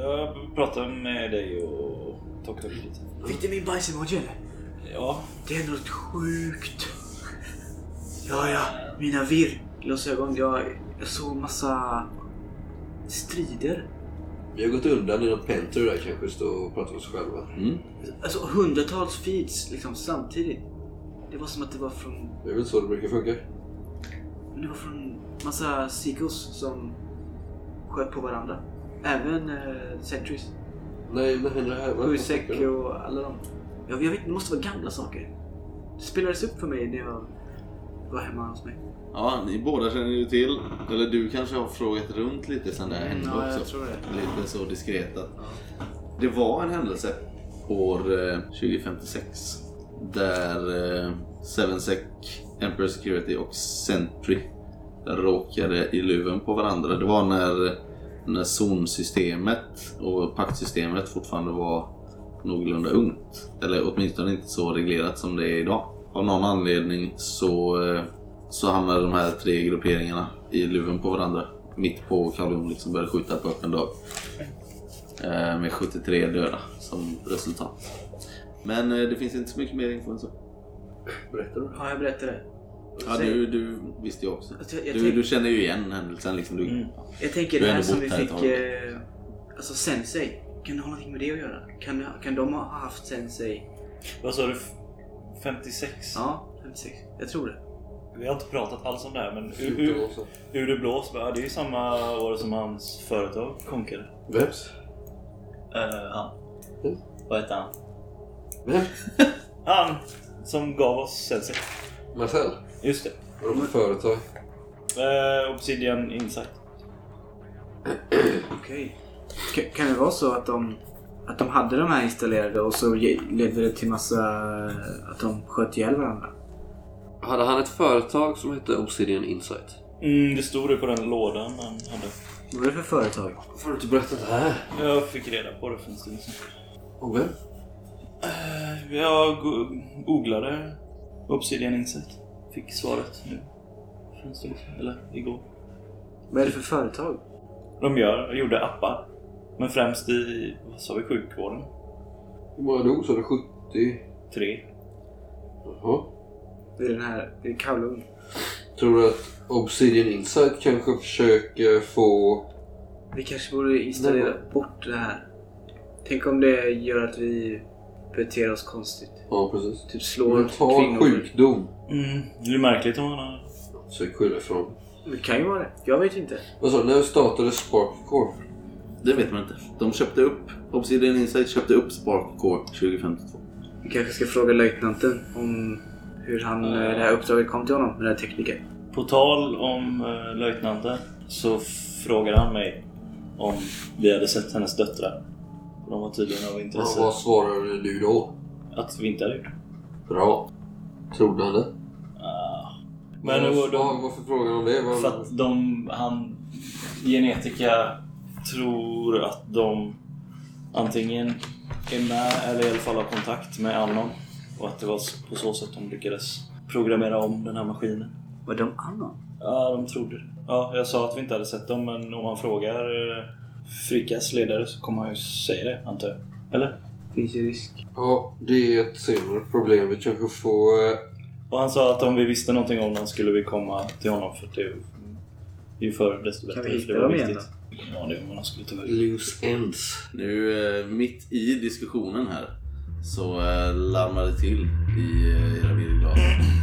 Jag pratar med dig och Tokyo lite.
Fick du min bajsemoji eller?
Ja,
Det är något sjukt. Ja, ja. Mina virrglasögon. Jag, jag såg massa strider.
Vi har gått undan i någon pentry där kanske, stå och prata med oss själva.
Mm.
Alltså hundratals feeds liksom samtidigt. Det var som att det var från,
Det är väl så det brukar funka.
det var från massa psykos som sköt på varandra. Även eh, Sentries.
Nej, när händer det här? Vad
Husek
snackar du om?
och alla de. Jag, jag vet, det måste vara gamla saker. Det spelades upp för mig när jag var hemma hos mig.
Ja, ni båda känner ju till. Eller du kanske har frågat runt lite sen det här hände också.
Mm, tror det.
Lite så diskret att det var en händelse år eh, 2056 där eh, Sevensec, Emperor Security och Sentry råkade i luven på varandra. Det var när, när zonsystemet och paktsystemet fortfarande var någorlunda ungt. Eller åtminstone inte så reglerat som det är idag. Av någon anledning så, eh, så hamnade de här tre grupperingarna i luven på varandra. Mitt på Kalon liksom började skjuta på öppen dag. Eh, Med 73 döda som resultat. Men eh, det finns inte så mycket mer info än så.
Berättar du?
Ja, jag berättade det. Alltså,
Ja, du, du visste ju också.
Jag, jag,
Du,
tänk,
du känner ju igen händelsen. Liksom. Du,
Mm.
jag tänker
du
det
har ändå
här som vi
bott här ett tag.
fick... Eh, alltså sensei. Kan det ha någonting med det att göra? Kan, kan de ha haft sensei?
Vad sa du? 56?
Ja, 56. Jag tror det.
Vi har inte pratat alls om det här men ur,
14
ur,
år sedan.
ur det blå så bara, ja, det är ju samma år som hans företag konkade.
Vems?
Eh, han.
Mm.
Vad hette han?
Vem?
Han som gav oss Sensei.
Marcel?
Just det.
Vad är det för
Mm.
företag?
Eh, Obsidian Insight.
Okej. Ka- Kan det vara så att de, att de hade de här installerade och så ge- ledde det till massa... Att de sköt ihjäl varandra?
Hade han ett företag som hette Obsidian Insight?
Mm, det stod det på den lådan han hade.
Vad var det för företag?
Får du inte berätta det här?
Jag fick reda på det för en stund sedan.
Och vem?
Eh, Jag go- googlade Obsidian Insight. Fick svaret nu. För en stund sedan. Eller igår.
Vad är det för företag?
De gör, gjorde appar. Men främst i, vad sa vi, sjukvården?
Hur många dog sa du? 70?
Tre.
Jaha.
Det är den här... Det är Kowloon.
Tror du att Obsidian Insight kanske försöker få...
Vi kanske borde installera bort det här. Tänk om det gör att vi beter oss konstigt.
Ja, precis.
Typ slår
Mental sjukdom.
Mm, det är ju märkligt om man har...
Sök skylla ifrån.
Det kan ju vara det. Jag vet inte.
Vad sa du? När startade Spark Corp?
det vet man inte. De köpte upp, Obsidian Insight köpte upp Spark Core 2052.
Vi kanske ska fråga löjtnanten om hur han, eh, det här uppdraget kom till honom med den här tekniken.
På tal om eh, löjtnanten så frågade han mig om vi hade sett hennes döttrar. De var tydligen av
Ja,
intresse.
vad svarade du då?
Att vi inte hade gjort.
Bra. Trodde han det?
Ah. Men det var
vad,
de,
vad, varför frågade han det? Vad-
För att de, han, genetika tror att de antingen är med eller i alla fall har kontakt med Anon. Och att det var på så sätt de lyckades programmera om den här maskinen.
Var de annan?
Ja, de trodde det. Ja, jag sa att vi inte hade sett dem, men om man frågar eh, Frikas ledare så kommer han ju säga det, antar jag. Eller?
Finns ju risk.
Ja, det är ett senare problem. Vi kanske får... eh,
Och han sa att om vi visste någonting om dem skulle vi komma till honom för det ju förr desto bättre.
Kan
för
vi hitta
det var
dem igen
viktigt. Ja, det var man skulle ta vägen.
Loose ends.
Nu eh, mitt i diskussionen här så eh, larmar det till i eh, era virrglas.